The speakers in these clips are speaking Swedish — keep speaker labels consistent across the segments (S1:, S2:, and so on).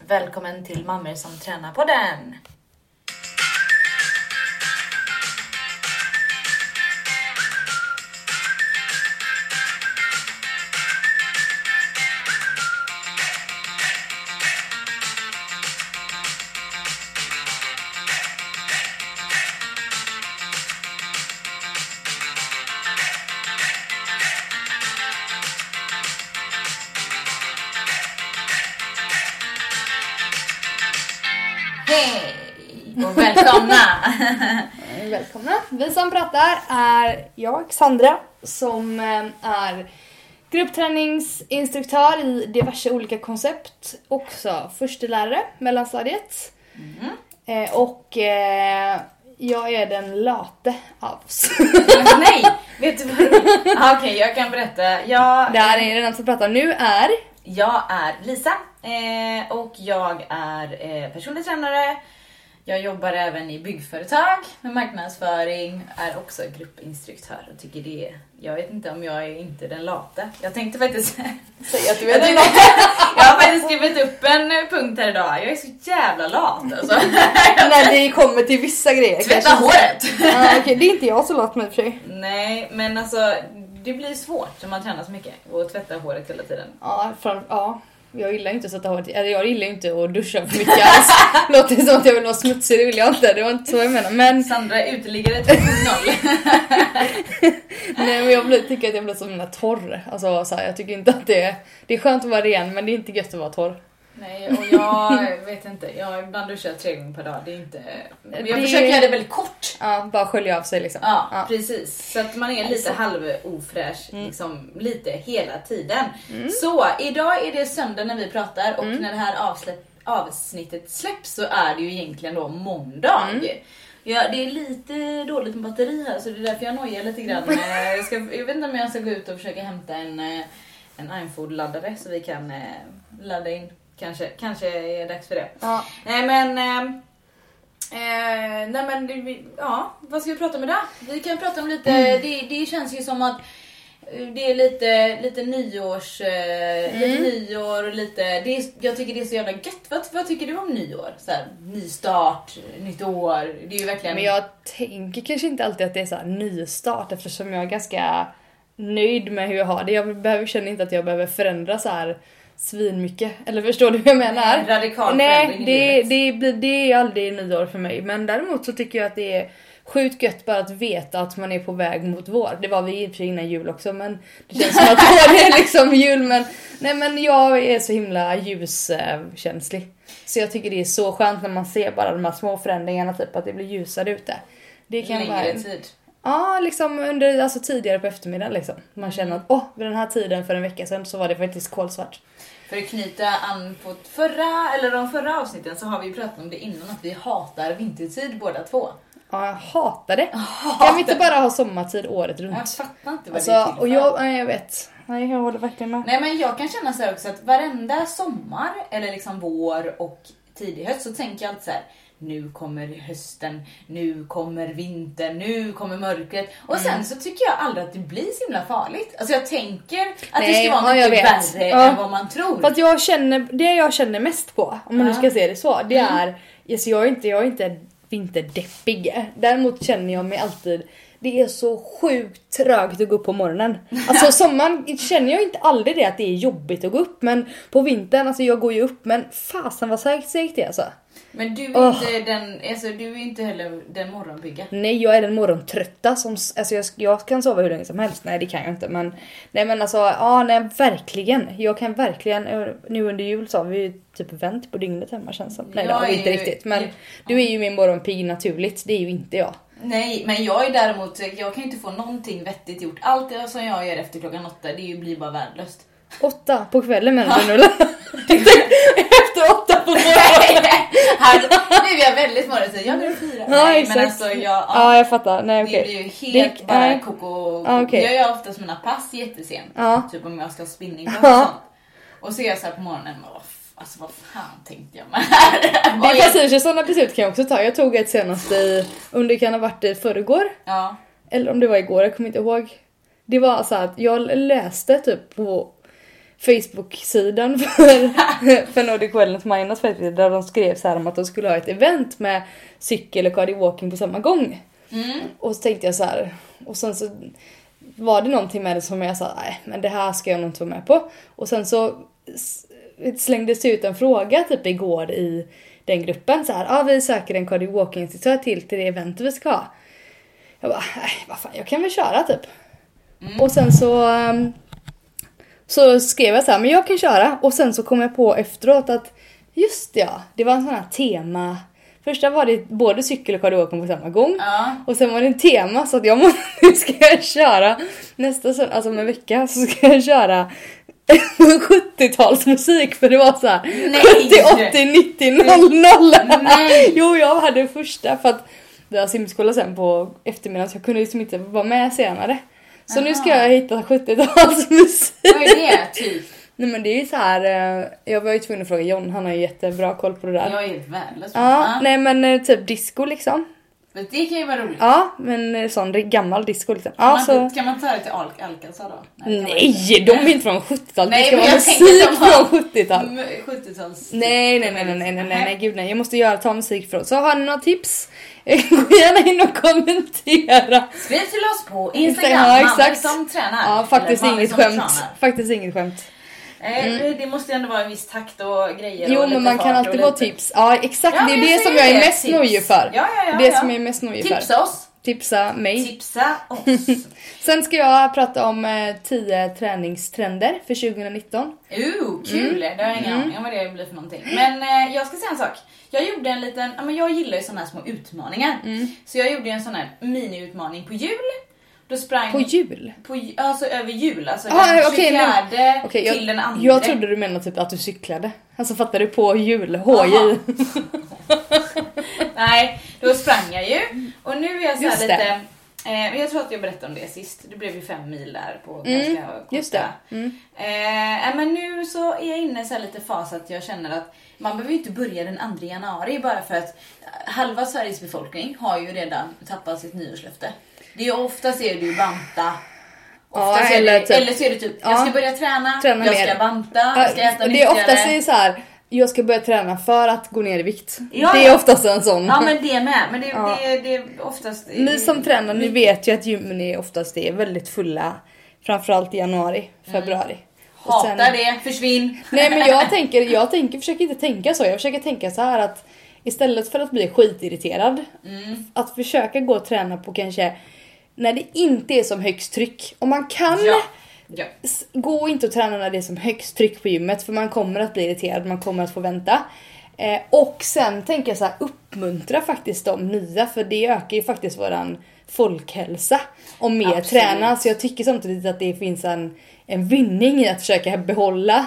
S1: Välkommen till Mammor som tränar på den. Hej och välkomna!
S2: Eh, Välkomna! Vi som pratar är jag, Sandra, som eh, är gruppträningsinstruktör i diverse olika koncept. Också förstelärare, mellanstadiet. Eh, Och eh, jag är den late av oss.
S1: Nej, vet du vad? Ah, Okej, jag kan berätta. Jag,
S2: Det här är redan som pratar nu är...
S1: jag är Lisa eh, och jag är eh, personlig tränare. Jag jobbar även i byggföretag med marknadsföring, är också gruppinstruktör och tycker det är, jag vet inte om jag är inte den late. Jag tänkte faktiskt
S2: Säg att du
S1: Jag, tycker- jag har faktiskt skrivit upp en eh, punkt här idag. Jag är så jävla lat alltså.
S2: När det kommer till vissa grejer
S1: Tvätta håret!
S2: Ah, Okej, det är inte jag som låter mig i och för sig.
S1: Nej, men alltså det blir svårt när man tränar så mycket och tvättar håret hela tiden.
S2: Ja, fram, ja. Jag gillar ju inte att sätta håret Eller jag gillar ju inte att duscha för mycket alls. Låter som att jag vill vara smutsig, det vill jag inte. Det var inte så jag menade. Men,
S1: Sandra är uteliggare 2.0.
S2: nej, men jag blir, tycker att jag blir som mina torr. Alltså, så här, jag tycker inte att det är... Det är skönt att vara ren men det är inte gött att vara torr.
S1: Nej, och jag vet inte. Jag ibland duschar jag tre gånger per dag. Det är inte... Jag
S2: Det-
S1: försöker göra det väldigt kort.
S2: Ja, bara skölja av sig liksom.
S1: Ja,
S2: Ja.
S1: precis. Så att man är lite halv ofräsch liksom, lite hela tiden. Så idag är det söndag när vi pratar och när det här avsläpp, avsnittet släpps så är det ju egentligen då måndag. Ja, det är lite dåligt med batteri här så det är därför jag nojar lite grann. Eh, Jag, ska, jag vet inte om jag ska gå ut och försöka hämta en, eh, en iPhone-laddare så vi kan eh, ladda in. Kanske, kanske är det dags för det.
S2: Ja.
S1: Nej men... ehm, Eh, nej men, det- vi- ja, vad ska vi prata om idag? Vi kan prata om lite,
S2: Mm.
S1: det, det känns ju som att eh, det är lite, lite nyårs, eh,
S2: Mm.
S1: lite nyår och lite, det är, jag tycker det är så jävla gött. Vad, vad tycker du om nyår? Så här, ny start, nytt år. Det är ju verkligen...
S2: Men jag tänker kanske inte alltid att det är så här nystart eftersom jag är ganska nöjd med hur jag har det. Jag behöver, känner inte att jag behöver förändra så här svinmycket. Eller förstår du hur jag menar?
S1: En radikal
S2: Nej,
S1: förändring i
S2: det,
S1: livet.
S2: det, blir, det är aldrig nyår för mig. Men däremot så tycker jag att det är sjukt gött bara att veta att man är på väg mot vår. Det var vi i och för sig innan jul också men det känns som att det är liksom jul men nej men jag är så himla ljuskänslig. Så jag tycker det är så skönt när man ser bara de här små förändringarna, typ att det blir ljusare ute. Det kan vara...
S1: längre tid.
S2: Ja, liksom under, alltså tidigare på eftermiddagen liksom. Man känner att åh, vid den här tiden för en vecka sedan så var det faktiskt kolsvart.
S1: För att knyta an på förra, eller de förra avsnitten så har vi ju pratat om det innan att vi hatar vintertid båda två.
S2: Ja, jag hatar det. Kan vi inte bara ha sommartid året runt?
S1: Jag fattar inte vad det är
S2: Alltså,
S1: till
S2: och
S1: för.
S2: jag, nej, jag vet. Nej, jag håller verkligen med.
S1: Nej men jag kan känna så här också att varenda sommar eller liksom vår och tidig höst så tänker jag alltid så här. Nu kommer hösten, nu kommer vintern, nu kommer mörkret. Och sen så tycker jag aldrig att det blir så himla farligt. Alltså jag tänker att det
S2: Nej,
S1: ska vara
S2: ja, jag
S1: mycket
S2: vet.
S1: värre
S2: Ja.
S1: än vad man tror.
S2: För att jag känner, det jag känner mest på, om man nu
S1: Ja.
S2: ska se det så, det
S1: Mm.
S2: är, alltså jag är inte, jag är inte vinterdeppig. Däremot känner jag mig alltid, det är så sjukt trögt att gå upp på morgonen. Alltså sommaren känner jag inte aldrig det att det är jobbigt att gå upp men på vintern, alltså jag går ju upp men fasen vad segt segt det är alltså.
S1: Men du är,
S2: Åh.
S1: inte den, alltså, du är inte heller den morgonpigga.
S2: Nej jag är den morgontrötta som, alltså jag, jag kan sova hur länge som helst. Nej det kan jag inte men. Nej men alltså, ja nej verkligen. Jag kan verkligen, eh, nu under jul så har vi ju typ vänt på dygnet hemma känns som. Nej det
S1: Jag
S2: har vi
S1: är
S2: inte
S1: ju-
S2: riktigt men du är ju min morgonpigg naturligt, det är ju inte jag.
S1: Nej, men jag är däremot, jag kan ju inte få någonting vettigt gjort. Allt det som jag gör efter klockan åtta, det är ju- blir bara värdelöst.
S2: Åtta på kvällen menar du nu eller? Efter åtta på morgonen.
S1: Här, Alltså, nu är jag väldigt morgonsen, jag går och firar. Nej men
S2: exakt.
S1: alltså jag, ja,
S2: Ja jag fattar, nej okej.
S1: det blir ju helt
S2: Det-
S1: bara
S2: nej.
S1: koko.
S2: Ja, okej.
S1: Jag gör oftast mina pass jättesent.
S2: Ja.
S1: Typ om jag ska ha spinningpass
S2: Ja.
S1: och sånt. Och så är jag så här på morgonen, men vad f- alltså vad fan tänkte jag med det här?
S2: Det är
S1: Oj.
S2: precis, sådana beslut kan jag också ta. Jag tog ett senast i, om det kan ha varit i förrgår.
S1: Ja.
S2: eller om det var igår, jag kommer inte ihåg. Det var så att jag läste typ på Facebook-sidan för, för Nordic Wellness Minors Facebook där de skrev så här om att de skulle ha ett event med cykel och cardio walking på samma gång. Och så tänkte jag så här, och sen så var det någonting med det som jag sa, nej men det här ska jag nog inte vara med på. Och sen så s- slängdes det ut en fråga typ igår i den gruppen så här, ja ah, vi söker en cardio walking instruktör till till det eventet vi ska ha. Jag bara, nej vad fan jag kan väl köra typ. Och sen så ehm, så skrev jag så här, men jag kan köra. Och sen så kom jag på efteråt att just ja, det var en sån här tema. Första var det både cykel och kardioken på samma gång.
S1: Ja.
S2: Och sen var det en tema så att jag må- nu ska jag köra nästa söndag, alltså om en vecka så ska jag köra 70-talsmusik för det var så här
S1: Nej!
S2: 70, 80, 90, 00.
S1: Nej.
S2: Jo, jag hade första för att vi har simskola sen på eftermiddagen så jag kunde liksom inte vara med senare. Så nu ska
S1: Aha.
S2: jag hitta 70-talsmusik.
S1: Vad är det typ?
S2: Nej men det är ju så här. eh, jag var ju tvungen att fråga John, han har ju jättebra koll på det där. Ja,
S1: Jag är helt värdelös.
S2: nej men eh, typ disco liksom.
S1: Men det kan ju vara roligt.
S2: Ja, men eh, sån ri- gammal disco liksom.
S1: Kan,
S2: Ja, så...
S1: man, kan man ta det till Al- Alcazar då? det kan man
S2: Nej, de är inte från 70-talet.
S1: Nej,
S2: Det ska
S1: men
S2: vara
S1: jag tänkte
S2: musik
S1: att de Mm. var-
S2: från 70-talet.
S1: inte. M- 70-tals...
S2: Nej, nej, nej, nej, nej, nej, nej, nej, gud nej. Jag måste göra, ta musik från. Så har ni några tips? Gå gärna in och kommentera.
S1: Skriv till oss på Instagram,
S2: Instagram, ja,
S1: Mannen
S2: exakt.
S1: som tränar.
S2: Ja, faktiskt
S1: Eller Mannen
S2: inget
S1: som
S2: skämt.
S1: tränar.
S2: Faktiskt inget skämt.
S1: Nej, Det måste ju ändå vara en viss takt och grejer
S2: Jo
S1: och
S2: men
S1: lite
S2: man kan
S1: fart och
S2: alltid få
S1: lite-
S2: tips. Ja exakt,
S1: Ja,
S2: det
S1: men
S2: är det
S1: säger
S2: som jag är
S1: det.
S2: mest
S1: Tips.
S2: nojig för.
S1: Ja, ja, ja,
S2: det
S1: ja.
S2: som jag är mest nojig för. Mm.
S1: Tipsa oss!
S2: Tipsa mig.
S1: Tipsa oss!
S2: Sen ska jag prata om eh, 10 träningstrender för 2019.
S1: Ooh, kul!
S2: Mm.
S1: Det har jag ingen aning om vad det blir för någonting. Men eh, jag ska säga en sak. Jag gjorde en liten, ja, men jag gillar ju sådana här små utmaningar.
S2: Mm.
S1: Så jag gjorde en sån här miniutmaning på jul. Då sprang
S2: På jul?
S1: på ju- alltså över jul, alltså
S2: Ah,
S1: den 24
S2: okej, men- Okej,
S1: till den
S2: jag,
S1: andra.
S2: jag trodde du menade typ att du cyklade. Alltså fattar du? På jul, HJ.
S1: Aha. Nej, då sprang jag ju. Och nu är jag så här
S2: Just
S1: lite... Eh, men jag tror att jag berättade om det sist. Det blev ju fem mil där på
S2: Mm,
S1: ganska korta...
S2: just det. Mm.
S1: Eh, eh, men nu så är jag inne i så här lite fas att jag känner att man behöver ju inte börja den 2 januari bara för att halva Sveriges befolkning har ju redan tappat sitt nyårslöfte. Det är ju oftast är det ju banta.
S2: Ja,
S1: Oftast är
S2: eller
S1: det,
S2: typ-
S1: eller så är det typ, jag
S2: Ja.
S1: ska börja träna,
S2: Träna
S1: jag
S2: mer.
S1: ska banta, jag ska äta
S2: det är
S1: nyttigare.
S2: oftast är så här. jag ska börja träna för att gå ner i vikt.
S1: Ja,
S2: det är
S1: ja.
S2: oftast en sån.
S1: Ja men det med, men det,
S2: Ja.
S1: det, det är oftast...
S2: Ni som tränar,
S1: Mm.
S2: ni vet ju att gymmen är oftast är väldigt fulla. Framförallt i januari, februari. Och
S1: Hata
S2: sen-
S1: Mm. det, försvinn!
S2: Nej men jag tänker, jag tänker, försöker inte tänka så. Jag försöker tänka så här att istället för att bli skitirriterad,
S1: Mm.
S2: att försöka gå och träna på kanske när det inte är som högst tryck. Om man kan
S1: Ja. Ja.
S2: s- gå inte och träna när det är som högst tryck på gymmet för man kommer att bli irriterad, man kommer att få vänta. Eh, och sen tänker jag så här, uppmuntra faktiskt de nya för det ökar ju faktiskt våran folkhälsa om mer
S1: Absolut.
S2: tränar. Så jag tycker samtidigt att det finns en, en vinning i att försöka behålla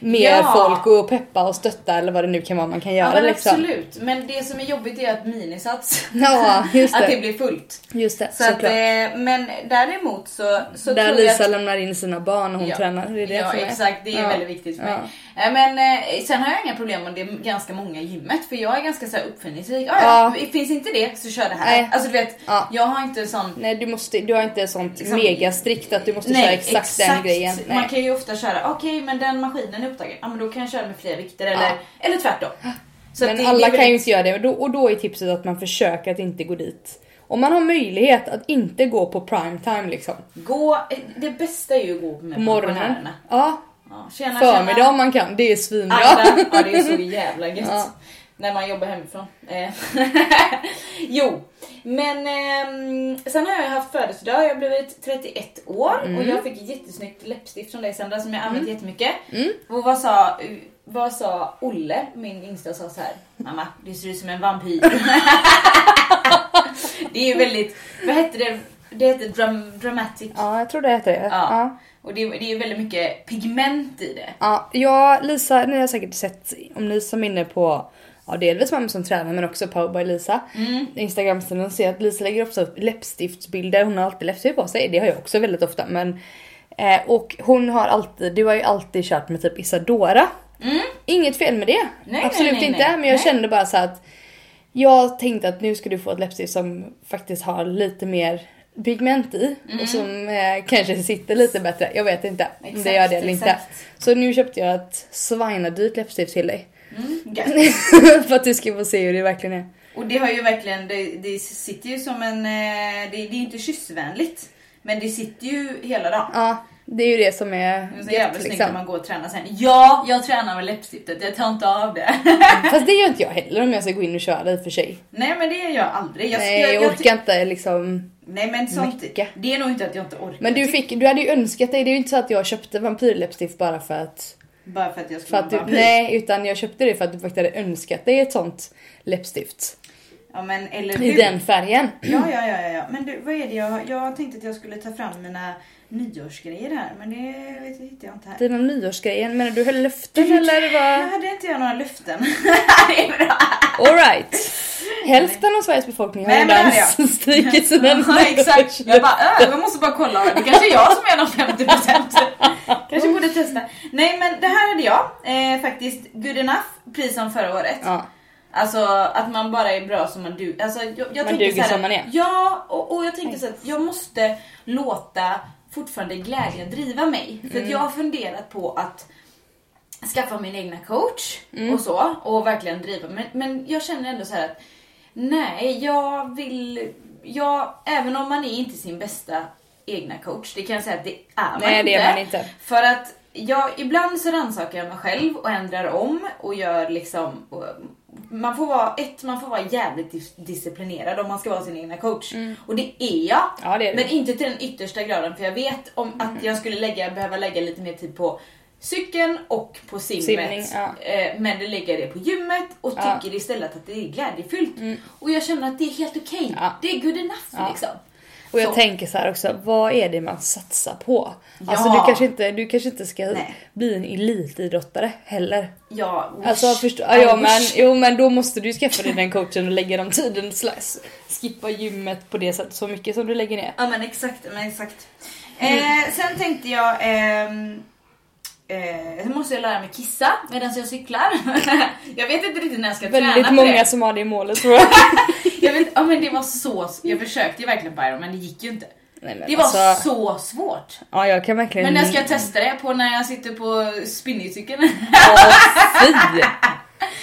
S2: mer
S1: Ja.
S2: folk och peppa och stötta eller vad det nu kan vara man kan göra.
S1: ja men
S2: liksom.
S1: absolut, men det som är jobbigt är att minisats,
S2: Ja, just
S1: att det
S2: det.
S1: blir fullt.
S2: Just det,
S1: Så att,
S2: såklart.
S1: eh, men däremot så, så
S2: Där
S1: tror jag
S2: Lisa
S1: att
S2: lämnar in sina barn och hon tränar. Det är det
S1: ja,
S2: som är.
S1: exakt. Det är
S2: Ja.
S1: väldigt viktigt för mig.
S2: Ja.
S1: Eh, Men eh, sen har jag inga problem om det är ganska många i gymmet för jag är ganska så här uppfinningsrik. Ja,
S2: Ja.
S1: ja. Finns inte det så kör det här.
S2: Nej.
S1: Alltså du vet,
S2: Ja.
S1: jag har inte sån
S2: Nej du, måste, du har inte sånt
S1: Liksom-
S2: mega strikt att du måste köra exakt, den grejen.
S1: Man
S2: Nej.
S1: kan ju ofta köra, okej men den maskinen är upptagen, ja men då kan jag köra med fler vikter eller, eller tvärtom. Så
S2: Men
S1: att det- det
S2: alla
S1: är väl-
S2: kan ju inte göra det och då, och då är tipset att man försöker att inte gå dit. Om man har möjlighet att inte gå på prime time liksom.
S1: Gå, det bästa är ju att gå med
S2: På morgonen.
S1: pensionärerna.
S2: Ja,
S1: Ja, tjena,
S2: förmiddag
S1: tjena.
S2: om man kan. Det är svinbra.
S1: Agda. Ja det är så jävla gött.
S2: Ja.
S1: När man jobbar hemifrån. Eh. jo, men ehm, sen har jag haft födelsedag, jag har blivit 31 år och
S2: Mm.
S1: jag fick ett jättesnyggt läppstift från dig Sandra som jag använt jättemycket.
S2: Mm.
S1: Och vad sa, vad sa Olle, min yngsta, sa så här. Mamma, du ser ut som en vampyr. det är ju väldigt, vad hette det? Det hette dram, dramatic. Ja.
S2: Ja, jag tror det heter det. Ja.
S1: Och det, det är ju väldigt mycket pigment i det.
S2: Ja, jag, Lisa, ni har säkert sett om ni som är inne på ja, delvis mamma som tränar men också Powerby Lisa. Mm. Instagramsidan ser att Lisa lägger också upp läppstiftsbilder. Hon har alltid läppstift på sig. Det har jag också väldigt ofta men eh, och hon har alltid, du har ju alltid kört med typ Isadora. Inget fel med det.
S1: Mm. nej,
S2: Absolut
S1: nej,
S2: inte.
S1: nej.
S2: Men jag
S1: Nej.
S2: kände bara så att jag tänkte att nu ska du få ett läppstift som faktiskt har lite mer pigment i
S1: Mm.
S2: och som eh, kanske sitter lite bättre. Jag vet inte om det gör det eller inte.
S1: exakt.
S2: Så nu köpte jag ett svinadyrt läppstift till dig.
S1: Mm, gött.
S2: för att du ska få se hur det verkligen är.
S1: och det har ju verkligen, det, det sitter ju som en, eh, det, det är ju inte kyssvänligt. Men det sitter ju hela dagen.
S2: Ja, det är ju det som är
S1: Det är så jävla
S2: gött
S1: snyggt
S2: liksom.
S1: när man går och tränar sen. Ja, jag tränar med läppstiftet, jag tar inte av det.
S2: Fast det gör inte jag heller om jag ska gå in och köra i och för sig.
S1: Nej men det gör jag aldrig. Jag,
S2: Nej, jag
S1: jag ty-
S2: orkar inte liksom.
S1: Nej men sånt,
S2: Mycket.
S1: det är nog inte att jag inte orkar.
S2: Men du, fick, du hade ju önskat dig, det är ju inte så att jag köpte vampyrläppstift bara för att
S1: Bara för att jag
S2: För
S1: skulle
S2: att du,
S1: vara vampyr.
S2: nej, utan jag köpte det för att du faktiskt hade önskat dig ett sånt läppstift.
S1: Ja men eller
S2: I
S1: hur?
S2: den färgen.
S1: Ja, ja, ja, ja, ja. Men du, vad är det jag... Jag tänkte att jag skulle ta fram mina nyårsgrejer här, men det vet, hittade jag inte här.
S2: Dina nyårsgrejer, menar du höll löften eller
S1: Jag
S2: vad?
S1: hade inte jag några löften. det är bra.
S2: Alright. Hälften av Sveriges befolkning har
S1: Nej, men det
S2: redan
S1: hade jag.
S2: strukit sina
S1: Ja, exakt. Jag
S2: nyårslöften.
S1: bara, äh, jag måste bara kolla. Det kanske är jag som är de 50 Kanske borde testa. Nej, men det här hade jag eh, faktiskt. Good enough, precis som förra året.
S2: Ja.
S1: Alltså att man bara är bra som man duger. Alltså, jag, jag
S2: Man
S1: tänker
S2: duger
S1: så här,
S2: som man är.
S1: Ja, och, och jag tänker så att jag måste låta fortfarande glädjen driva mig. För
S2: Mm.
S1: att jag har funderat på att skaffa min egna coach
S2: Mm.
S1: och så och verkligen driva. Men, men jag känner ändå så här att nej, jag vill... Jag, även om man är inte sin bästa egna coach, det kan jag säga att det är man
S2: Nej,
S1: inte.
S2: det är man inte.
S1: För att jag, ibland så rannsakar jag mig själv och ändrar om och gör liksom... Och, man får vara, ett, man får vara jävligt dis- disciplinerad om man ska vara sin egna coach. Och det är jag.
S2: Mm. Ja, det är du. Mm.
S1: Men inte till den yttersta graden för jag vet om att jag skulle lägga, behöva lägga lite mer tid på cykeln och på simmet.
S2: Simning, ja.
S1: Eh, Men det lägger det på gymmet och
S2: Ja. Mm.
S1: tycker istället att det är glädjefyllt. Och jag känner att det är helt okej.
S2: Ja.
S1: Det är good enough
S2: Ja.
S1: liksom.
S2: Och jag
S1: Så.
S2: tänker så här också, vad är det man satsar på?
S1: Ja.
S2: Alltså du kanske inte, du kanske inte ska
S1: Nej.
S2: bli en elitidrottare heller.
S1: Ja, usch.
S2: Alltså förstå, ja, ja,
S1: usch.
S2: men, jo men då måste du ju skaffa dig den coachen och lägga den tiden, slash, skippa gymmet på det sättet så mycket som du lägger ner.
S1: Ja men exakt, men exakt.
S2: Mm.
S1: Eh, sen tänkte jag... ehm, Eh, sen måste jag lära mig kissa medan jag cyklar. jag vet inte riktigt när jag ska träna
S2: Väldigt
S1: på
S2: många
S1: det.
S2: som har det målet tror jag.
S1: Jag, vet, ja, men det var så, jag försökte ju verkligen på Iron men det gick ju inte.
S2: Nej, men
S1: Det var
S2: alltså,
S1: så svårt.
S2: Ja jag kan verkligen...
S1: Men när ska jag testa det? På när jag sitter på spinningcykeln?
S2: Åh, fy!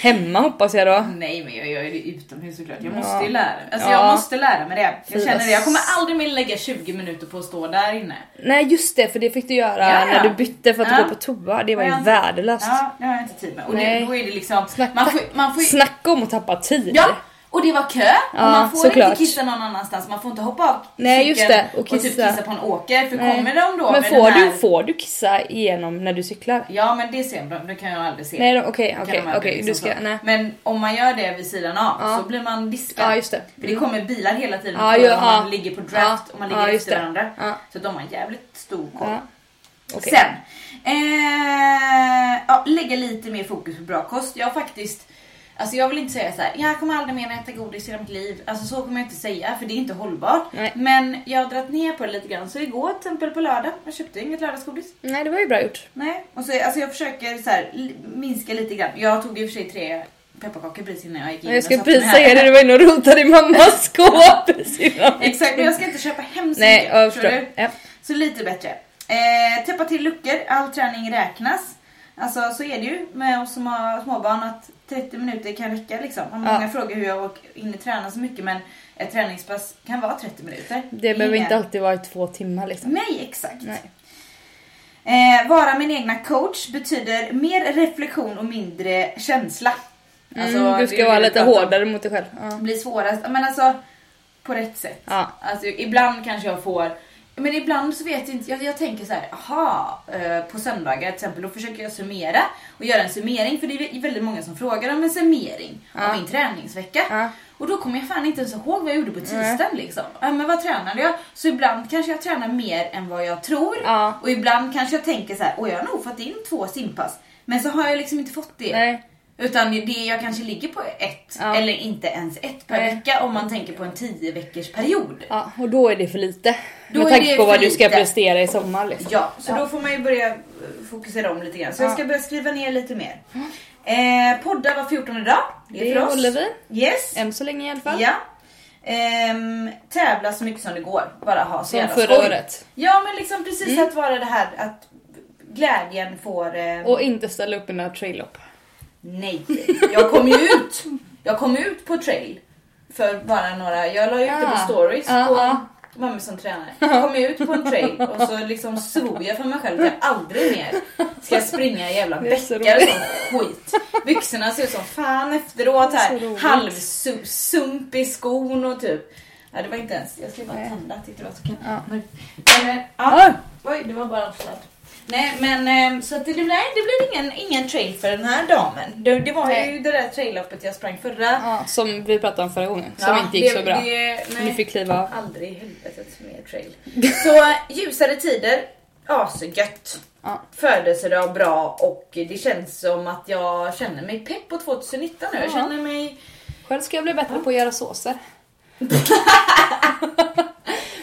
S2: Hemma hoppas jag då.
S1: Nej men jag gör ju det utomhus såklart. Jag
S2: Ja.
S1: måste ju lära mig. Alltså
S2: Ja.
S1: jag måste lära mig det. Jag
S2: Fy,
S1: känner
S2: vad
S1: det. Jag kommer aldrig mer lägga 20 minuter på att stå där inne.
S2: Nej just det, för det fick du göra
S1: Ja, ja.
S2: när du bytte för att
S1: Ja.
S2: du går på toa. Det var
S1: Ja,
S2: ju
S1: jag-
S2: värdelöst.
S1: Ja, det har jag inte tid med. Och det,
S2: Nej.
S1: då är det liksom...
S2: Snack-
S1: Man får, man får ju,
S2: Snacka om att tappa tid.
S1: ja, och det var kö. och
S2: Ja,
S1: man får
S2: såklart.
S1: inte kissa någon annanstans. Man får inte hoppa av
S2: Nej, just
S1: cykeln
S2: det, och
S1: typ
S2: kissa.
S1: kissa på en åker. För
S2: Nej.
S1: kommer de då
S2: Men
S1: med
S2: får
S1: den här...
S2: du, får du kissa igenom när du cyklar?
S1: Ja men det ser de, det kan jag aldrig se.
S2: Nej de- okej,
S1: Kan
S2: okej,
S1: de aldrig
S2: okej.
S1: liksom
S2: Du ska,
S1: så.
S2: nej.
S1: Men om man gör det vid sidan av
S2: Ja.
S1: så blir man diskad.
S2: Ja just det.
S1: För det kommer bilar hela tiden
S2: Ja,
S1: och
S2: ju-
S1: kollar om man
S2: ja.
S1: ligger på draft
S2: Ja.
S1: och man
S2: Ja,
S1: ligger
S2: just
S1: efter
S2: det.
S1: varandra.
S2: Ja.
S1: Så de har en jävligt stor koll.
S2: Ja. Okej.
S1: Sen, eh, ja, lägga lite mer fokus på bra kost. Jag har faktiskt Alltså jag vill inte säga så här. jag kommer aldrig mer äta godis i hela mitt liv. Alltså så kommer jag inte säga för det är inte hållbart.
S2: Nej.
S1: Men jag har dragit ner på det lite grann. Så igår till exempel på lördag, jag köpte inget lördagsgodis.
S2: Nej det var ju bra gjort.
S1: Nej, och så, alltså jag försöker så här, li- minska lite grann. Jag tog ju för sig tre pepparkakor precis innan jag gick in.
S2: Jag
S1: och
S2: ska
S1: satte mig
S2: precis
S1: här.
S2: säga det, du var inne och rotade i mammas skåp precis innan.
S1: Exakt, men jag ska inte köpa hem så
S2: Nej,
S1: mycket.
S2: jag
S1: förstår
S2: förstår. Ja.
S1: du? Så lite bättre. Eh, täppa till luckor, all träning räknas. Alltså så är det ju med oss som har småbarn att 30 minuter kan räcka liksom. Och Många
S2: Ja.
S1: frågar hur jag åker- hinner träna så mycket men ett träningspass kan vara 30 minuter.
S2: Det behöver
S1: Ingen-
S2: inte alltid vara i två timmar liksom.
S1: Nej, exakt.
S2: Nej.
S1: Eh, vara min egna coach betyder mer reflektion och mindre känsla. Alltså,
S2: mm, du
S1: det är
S2: ska
S1: ju
S2: vara
S1: det vi
S2: lite
S1: pratar om.
S2: hårdare mot dig själv. Ja.
S1: blir svårast. Men alltså, på rätt sätt.
S2: Ja.
S1: Alltså, ibland kanske jag får men ibland så vet jag inte, jag, jag tänker så här, aha, eh, på söndagar till exempel, då försöker jag summera och göra en summering för det är väldigt många som frågar om en summering
S2: Ja.
S1: av min träningsvecka.
S2: Ja.
S1: Och då kommer jag fan inte ens ihåg vad jag gjorde på tisdagen liksom. Ja, men vad tränade jag? Så ibland kanske jag tränar mer än vad jag tror
S2: Ja.
S1: och ibland kanske jag tänker så här, åh jag har nog fått in två simpass. Men så har jag liksom inte fått det.
S2: Nej.
S1: Utan det jag kanske ligger på ett,
S2: Ja.
S1: eller inte ens ett per
S2: Nej.
S1: vecka om man tänker på en 10 veckors period.
S2: Ja, och då är det för lite.
S1: Då
S2: med
S1: är
S2: tanke
S1: det
S2: på vad
S1: för
S2: du ska
S1: lite.
S2: prestera i sommar liksom.
S1: Ja, så då får man ju börja eh, fokusera om lite grann. Så jag
S2: Ja.
S1: ska börja skriva ner lite mer. Eh, podda var 14 dag. Det är
S2: Det
S1: för oss.
S2: håller vi.
S1: Yes.
S2: Än så länge i alla fall.
S1: Ja. ehm, tävla så mycket som det går. Bara ha så
S2: Som
S1: jävla
S2: förra
S1: skoj.
S2: året.
S1: Ja men liksom precis att vara det här att glädjen får... Eh,
S2: Och inte ställa upp i några traillopp.
S1: Nej, jag kom ju ut! Jag kom ut på trail. För bara några, jag la ut det på
S2: Ah.
S1: stories
S2: Ah,
S1: på
S2: ah.
S1: mamma som tränare. Jag kom ut på en trail och så liksom svor jag för mig själv att jag aldrig mer ska springa i jävla
S2: Det är så
S1: bäckar och
S2: roligt.
S1: sån skit. Byxorna ser ut som fan efteråt
S2: Det är
S1: här.
S2: så
S1: Halvsump i skon och typ. Ja, det var inte ens, jag skulle bara
S2: Nej.
S1: tända tyckte det var så kul.
S2: Ja.
S1: Men, men, eh, ja.
S2: Ah.
S1: Oj, det var bara en sladd. Nej, men ehm, så att det, nej, det blev ingen, ingen trail för den här damen. Det, det var
S2: Nej.
S1: ju det där trailloppet jag sprang förra.
S2: Ja, som vi pratade om förra gången, som
S1: Ja,
S2: inte gick
S1: det-
S2: så bra.
S1: det-
S2: Ni
S1: nej.
S2: fick kliva
S1: Aldrig i helvetet mer trail. Så ljusare tider, asgött.
S2: Ja.
S1: Födelsedag bra och det känns som att jag känner mig pepp på 2019 nu. Jag
S2: Ja.
S1: känner mig...
S2: Själv ska jag bli bättre på att göra såser.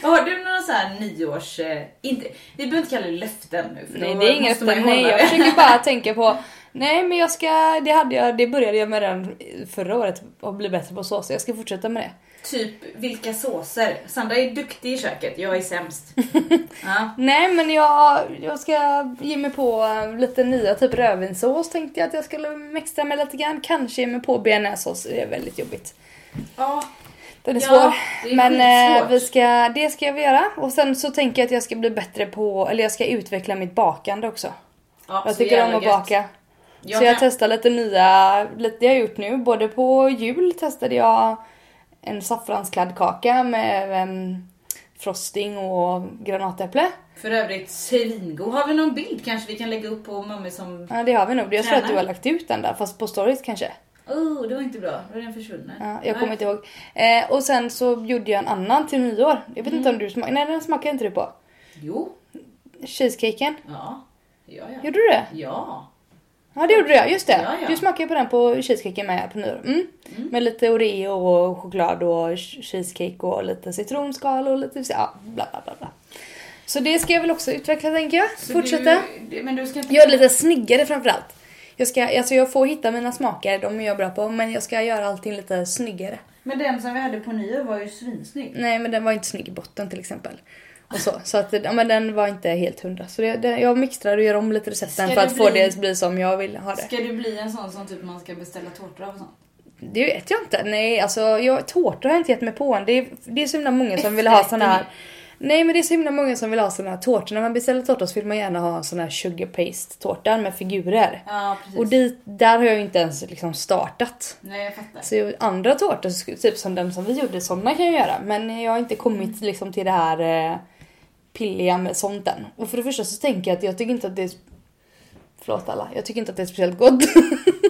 S1: Har du några så här nyårs... eh, Inte, vi behöver inte kalla det löften nu för
S2: Nej
S1: då
S2: det är inget
S1: måste man ju
S2: utan nej
S1: hålla
S2: jag
S1: det.
S2: försöker bara tänka på Nej men jag ska, det hade jag, det började jag med redan förra året att bli bättre på såser. Jag ska fortsätta med det.
S1: Typ vilka såser? Sandra är duktig i köket, jag är sämst. ja.
S2: Nej men jag, jag ska ge mig på eh, lite nya, typ rödvinssås tänkte jag att jag skulle mixtra med lite grann. Kanske ge mig på bearnaisesås, det är väldigt jobbigt.
S1: Ja,
S2: Den är
S1: Ja,
S2: svår.
S1: det är
S2: men
S1: skitsvårt.
S2: eh, vi ska, det ska vi göra. Och sen så tänker jag att jag ska bli bättre på, eller jag ska utveckla mitt bakande också.
S1: ja
S2: jag
S1: så
S2: tycker om
S1: jävla
S2: att
S1: gött.
S2: baka.
S1: Jag
S2: så jag
S1: kan-
S2: testar lite nya, lite jag har gjort nu. Både på jul testade jag en saffranskladdkaka med em, frosting och granatäpple.
S1: För övrigt, svingod. Har vi någon bild kanske vi kan lägga upp på mummi som...
S2: Ja, det har vi nog. Jag tror
S1: Tränar.
S2: att du har lagt ut den där, fast på stories kanske.
S1: Oh, det var inte bra. Då är den försvunnen.
S2: Ja, jag
S1: Nej.
S2: kommer inte ihåg. Eh, och sen så gjorde jag en annan till nyår. Jag vet inte
S1: Mm.
S2: om du smakade, nej den smakade inte du på.
S1: Jo.
S2: Cheesecaken.
S1: Ja. Ja, ja.
S2: Gjorde du det?
S1: Ja.
S2: Ja det gjorde jag, just det.
S1: Ja, ja.
S2: Du smakade på den på cheesecaken med på nyår. Mm. Med lite Oreo och choklad och ch- cheesecake och lite citronskal och lite ja, bla bla bla. bla. Så det ska jag väl också utveckla tänker jag.
S1: Så
S2: Fortsätta.
S1: Du, det- men du ska inte...
S2: Gör det lite snyggare framförallt. Jag, ska, alltså jag får hitta mina smaker, de är jag bra på, men jag ska göra allting lite snyggare.
S1: Men den som vi hade på nyår var ju svinsnygg.
S2: Nej men den var inte snygg i botten till exempel. Och så så att, ja, men den var inte helt hundra. Så det, det, jag mixtrar och gör om lite recepten
S1: Ska
S2: för
S1: det
S2: att få
S1: bli-
S2: det att bli som jag vill ha det.
S1: Ska du bli en sån som typ man ska beställa tårtor av och sånt?
S2: Det vet jag inte. Nej, alltså jag, tårtor har jag inte gett mig på än. Det är, det är så himla många som vill ha såna här... Nej men det är så himla många som vill ha såna här tårtor. När man beställer tårtor så vill man gärna ha en sån här sugar paste tårta med figurer.
S1: Ja, precis.
S2: Och dit, där har jag ju inte ens liksom startat.
S1: Nej, jag fattar.
S2: Så ju- andra tårtor, sk- typ som den som vi gjorde, sådana kan jag göra. Men jag har inte kommit liksom till det här eh, pilliga med sånt än. Och för det första så tänker jag att jag tycker inte att det är... Förlåt alla, jag tycker inte att det är speciellt gott.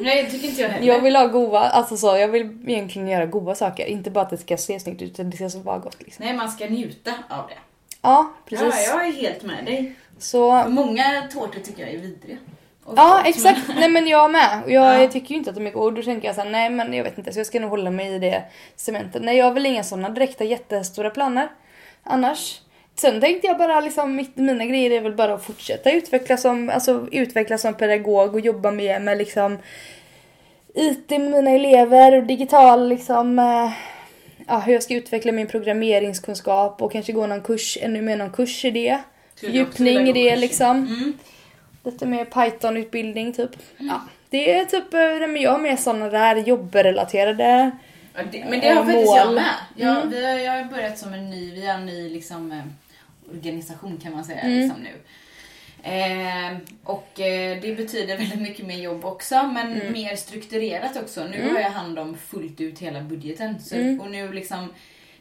S1: Nej, det tycker inte jag heller.
S2: Jag vill ha goda, alltså så, jag vill egentligen göra goda saker. Inte bara att det ska se snyggt ut utan det ska så vara gott liksom.
S1: Nej, man ska njuta av det.
S2: Ja,
S1: Ja,
S2: precis.
S1: jag är helt med dig.
S2: Så,
S1: Många tårtor tycker jag är vidriga. Och
S2: ja
S1: gott,
S2: exakt. Nej men jag med. Och Jag
S1: Ja.
S2: tycker ju inte att de är goda. Och då tänker jag såhär, nej men jag vet inte så jag ska nog hålla mig i det cementet. Nej jag har väl inga sådana direkta jättestora planer annars. Sen tänkte jag bara liksom, mitt, mina grejer är väl bara att fortsätta utvecklas som, alltså, utvecklas som pedagog och jobba mer med liksom IT med mina elever och digital liksom, eh, ja, hur jag ska utveckla min programmeringskunskap och kanske gå någon kurs, ännu mer någon kurs i det.
S1: Skulle jag också
S2: Fördjupning i
S1: vilja gå
S2: det
S1: kurs i.
S2: liksom.
S1: Mm.
S2: Lite mer Python-utbildning typ. Ja. Det är typ, eh, nej, men jag har mer sådana där jobbrelaterade.
S1: Ja, det, men det har faktiskt
S2: mål. Mm.
S1: jag med. Jag, vi har, jag har börjat som en ny, vi har en ny liksom, eh, organisation kan man säga
S2: Mm.
S1: liksom nu. Eh, och eh, det betyder väldigt mycket mer jobb också men
S2: Mm.
S1: mer strukturerat också. Nu har jag hand om fullt ut hela budgeten. Så,
S2: Mm.
S1: Och nu liksom,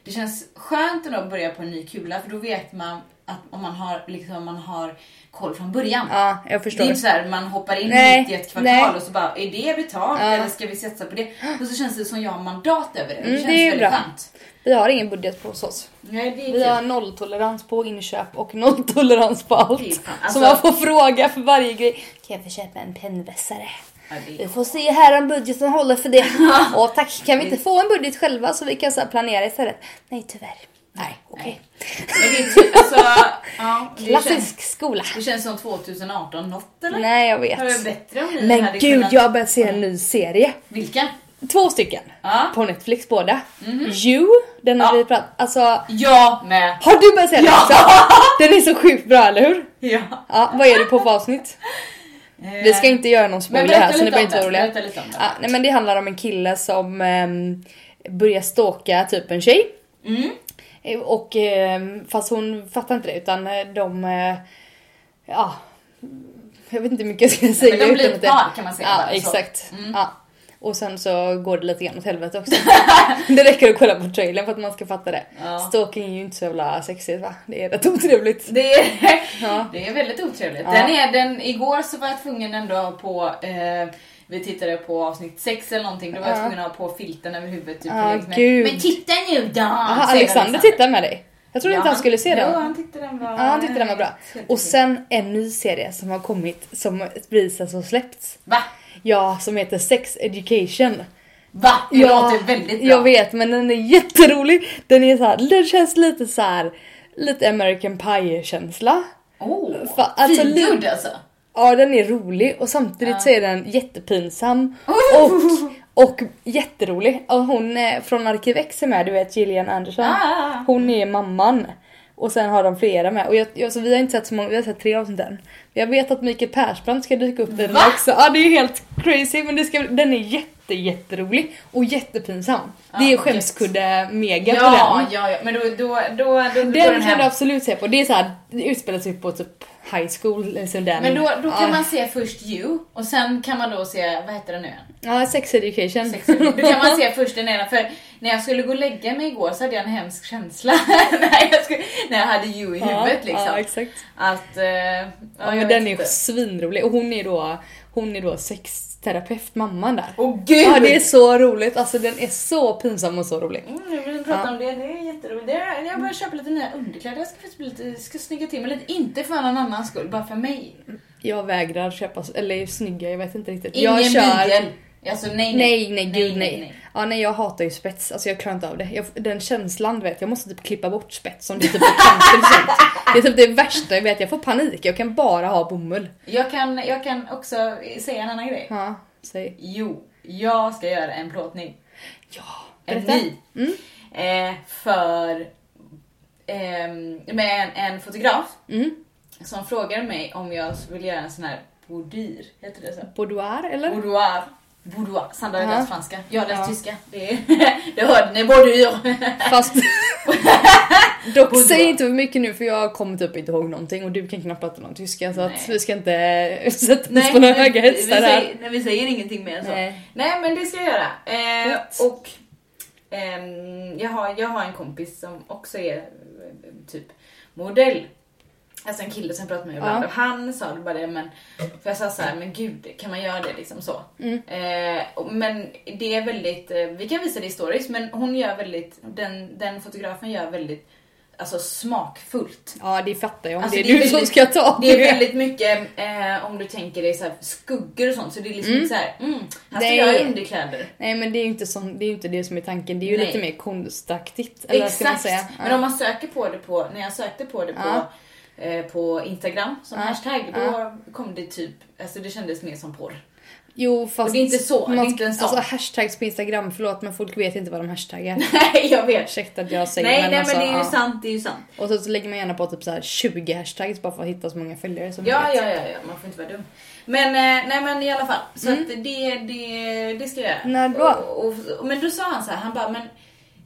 S1: det känns skönt ändå att börja på en ny kula för då vet man att om man har, liksom, man har koll från början.
S2: Ja, jag
S1: Det
S2: förstår.
S1: är inte såhär man hoppar in
S2: Nej,
S1: mitt i ett kvartal
S2: nej.
S1: och så bara är det betalt
S2: Ja.
S1: eller ska vi satsa på det? Och så känns det som jag har mandat över det. Det
S2: Mm,
S1: känns
S2: det är ju
S1: väldigt
S2: bra.
S1: skönt.
S2: Vi har ingen budget på hos oss.
S1: Nej, det är
S2: Vi har
S1: kul.
S2: nolltolerans på inköp och nolltolerans på
S1: Det är
S2: allt.
S1: fan,
S2: Så
S1: alltså-
S2: man får fråga för varje grej. Kan jag få köpa en pennvässare?
S1: Ja, det
S2: Vi
S1: är-
S2: får se här om budgeten håller för det. Åh tack, kan vi inte få en budget själva så vi kan så här planera istället? Nej tyvärr. Nej, okej.
S1: Men det är kul. Alltså, ja, det känns,
S2: Klassisk skola.
S1: det känns som 2018 något eller?
S2: Nej jag
S1: Det hade varit
S2: vet.
S1: bättre om ni
S2: Men
S1: hade
S2: gud,
S1: kunnat...
S2: jag har börjat se en ny serie.
S1: Vilka?
S2: Två stycken.
S1: Ja.
S2: På Netflix båda. You, den har
S1: Mhm. Ja.
S2: vi pratat Alltså,
S1: Jag med.
S2: har du börjat se den
S1: Ja.
S2: också? Den är så sjukt bra, eller hur?
S1: Ja. Eh,
S2: Ja, vad är det på för avsnitt? Vi ska inte göra någon
S1: Men
S2: spoiler
S1: berätta
S2: här så ni
S1: lite om
S2: behöver inte vara
S1: den.
S2: oroliga.
S1: Berätta lite om den.
S2: Ja, nej men det handlar om en kille som ehm, börjar stalka typ en tjej.
S1: Mm.
S2: Eh, Och ehm, fast hon fattar inte det utan eh, de... eh, Ja. Jag vet inte hur mycket jag ska säga.
S1: de blir
S2: utan att det-
S1: ett par kan man säga,
S2: Ja
S1: bara så. Mm.
S2: exakt. Ja. Och sen så går det lite grann åt helvete också. det räcker att kolla på trailern för att man ska fatta det.
S1: Ja.
S2: Stalking är ju inte så jävla sexigt va? Det är rätt otrevligt.
S1: Det är,
S2: Ja.
S1: det är väldigt otrevligt.
S2: Ja.
S1: Den är, den, igår så var jag tvungen ändå på, eh, vi tittade på avsnitt 6 eller någonting, då var jag
S2: Ja.
S1: tvungen att ha på filten över huvudet. Typ,
S2: Ja,
S1: längs med.
S2: gud.
S1: Men titta nu då!
S2: Aha,
S1: säger
S2: Alexander tittar med dig. Jag trodde inte han skulle se
S1: jo,
S2: det.
S1: han tyckte den var,
S2: Ja, han tyckte den var bra. Och sen en ny serie som har kommit som precis har släppts.
S1: Va?
S2: Ja, som heter Sex Education.
S1: Va? Det
S2: Ja,
S1: låter väldigt bra.
S2: Jag vet, men den är jätterolig. Den är så här, den känns lite så här, lite American Pie-känsla.
S1: Oh,
S2: Fa- alltså,
S1: Feelgood
S2: li-
S1: alltså.
S2: Ja, den är rolig och samtidigt
S1: Ja.
S2: så är den jättepinsam.
S1: Oh!
S2: Och, och jätterolig. Och hon är från Arkiv X är med, du vet Gillian Anderson.
S1: Ah.
S2: Hon är mamman. Och sen har de flera med. Och jag, jag, så vi har inte sett så många, vi har sett tre avsnitt än. Jag vet att Mikael Persbrandt ska dyka upp den
S1: Va?
S2: också. Ja det är helt crazy men det ska, den är jätte jätterolig och jättepinsam. det är
S1: gött.
S2: skämskudde-mega på
S1: Ja,
S2: den.
S1: ja, ja, men då, då, då, då, då går
S2: Den kan
S1: hem.
S2: du absolut se på. Det är så här, det utspelar sig på typ high school. Liksom den.
S1: Men då, då kan
S2: ja.
S1: man se först You och sen kan man då se, vad heter den nu igen?
S2: Ja, sex education.
S1: Sex and the City. Då kan man se först den ena, för när jag skulle gå och lägga mig igår så hade jag en hemsk känsla när, jag skulle, när jag hade You i huvudet
S2: Ja,
S1: liksom.
S2: exakt.
S1: Att, eh, ja,
S2: Ja,
S1: jag
S2: men
S1: vet
S2: den är
S1: inte.
S2: ju svinrolig och hon är då, hon är då sexterapeut, mamman där.
S1: Åh gud!
S2: Ja det är så roligt, alltså den är så pinsam och så rolig.
S1: Mm, jag vill prata om det, det är jätteroligt. Det är, jag börjar köpa lite nya underkläder, jag ska faktiskt bli lite, ska snygga till mig lite. Inte för någon annans skull, bara för mig.
S2: Jag vägrar köpa, eller snygga, jag vet inte riktigt.
S1: Ingen
S2: jag
S1: bygel. Alltså nej
S2: Nej nej gud nej. Ja nej jag hatar ju spets, alltså jag klarar inte av det. Jag, den känslan du vet, jag måste typ klippa bort spets om det typ är cancer och sånt. Det är typ det värsta jag vet, jag får panik, jag kan bara ha bomull.
S1: Jag, kan, jag kan också säga en annan grej.
S2: Ja, säg.
S1: Jo, jag ska göra en plåtning.
S2: Ja,
S1: En
S2: berätta. Mm.
S1: ny. Eh, för ehm, med en, en fotograf
S2: Mm.
S1: som frågade mig om jag vill göra en sån här boudir, heter det så?
S2: Boudoir eller?
S1: Boudoir. Boudoir. Sandra har
S2: Ja.
S1: läst franska, jag har läst
S2: Ja.
S1: tyska. Det, är- det hörde ni, boudir.
S2: Fast... Dock
S1: Boudoir.
S2: säg inte för mycket nu för jag kommer typ inte ihåg någonting och du kan knappt prata någon tyska så att
S1: Nej.
S2: vi ska inte eh, sätta oss på några höga
S1: vi, vi,
S2: hästar här.
S1: säger, nej, vi säger ingenting mer än så.
S2: Nej.
S1: Nej. men det ska jag göra. Eh,
S2: Gött.
S1: och ehm, jag, har, jag har en kompis som också är eh, typ modell. Alltså en kille som pratar med mig ibland
S2: Ja.
S1: och han sa det bara det men För jag sa så här, men gud kan man göra det liksom så? Eh, och- men det är väldigt, eh, vi kan visa det i stories men hon gör väldigt, den, den fotografen gör väldigt Alltså smakfullt.
S2: Ja det fattar jag om
S1: Alltså,
S2: det är du som ska ta
S1: Det är väldigt mycket, eh, om du tänker dig så här, skuggor och sånt, så det är liksom inte så här, mm, här ska
S2: Nej.
S1: jag ha underkläder.
S2: Nej men det är ju inte, som, det, är ju inte det som är tanken, det är ju
S1: Nej.
S2: lite mer konstaktigt. Eller Exakt. ska man
S1: Exakt!
S2: säga.
S1: Men om man söker på det på, när jag sökte på det på, eh, på Instagram som
S2: Ja.
S1: hashtag, då
S2: Ja.
S1: kom det typ, alltså det kändes mer som porr.
S2: Jo fast...
S1: det är inte så, det är
S2: man,
S1: inte en sån.
S2: Alltså hashtags på instagram, förlåt men folk vet inte vad de hashtaggar.
S1: Nej jag vet.
S2: Ursäkta att jag säger
S1: Nej nej
S2: alltså,
S1: men det är ju
S2: ja.
S1: sant, det är ju sant.
S2: Och så, så lägger man gärna på typ så här 20 hashtags bara för att hitta så många följare som
S1: Ja,
S2: möjligt.
S1: ja, ja, ja, man får inte vara dum. Men, eh, nej, men i alla fall, så att det, det, det ska jag göra.
S2: Mm. När då?
S1: Och, och, och, men då sa han så här, han bara, men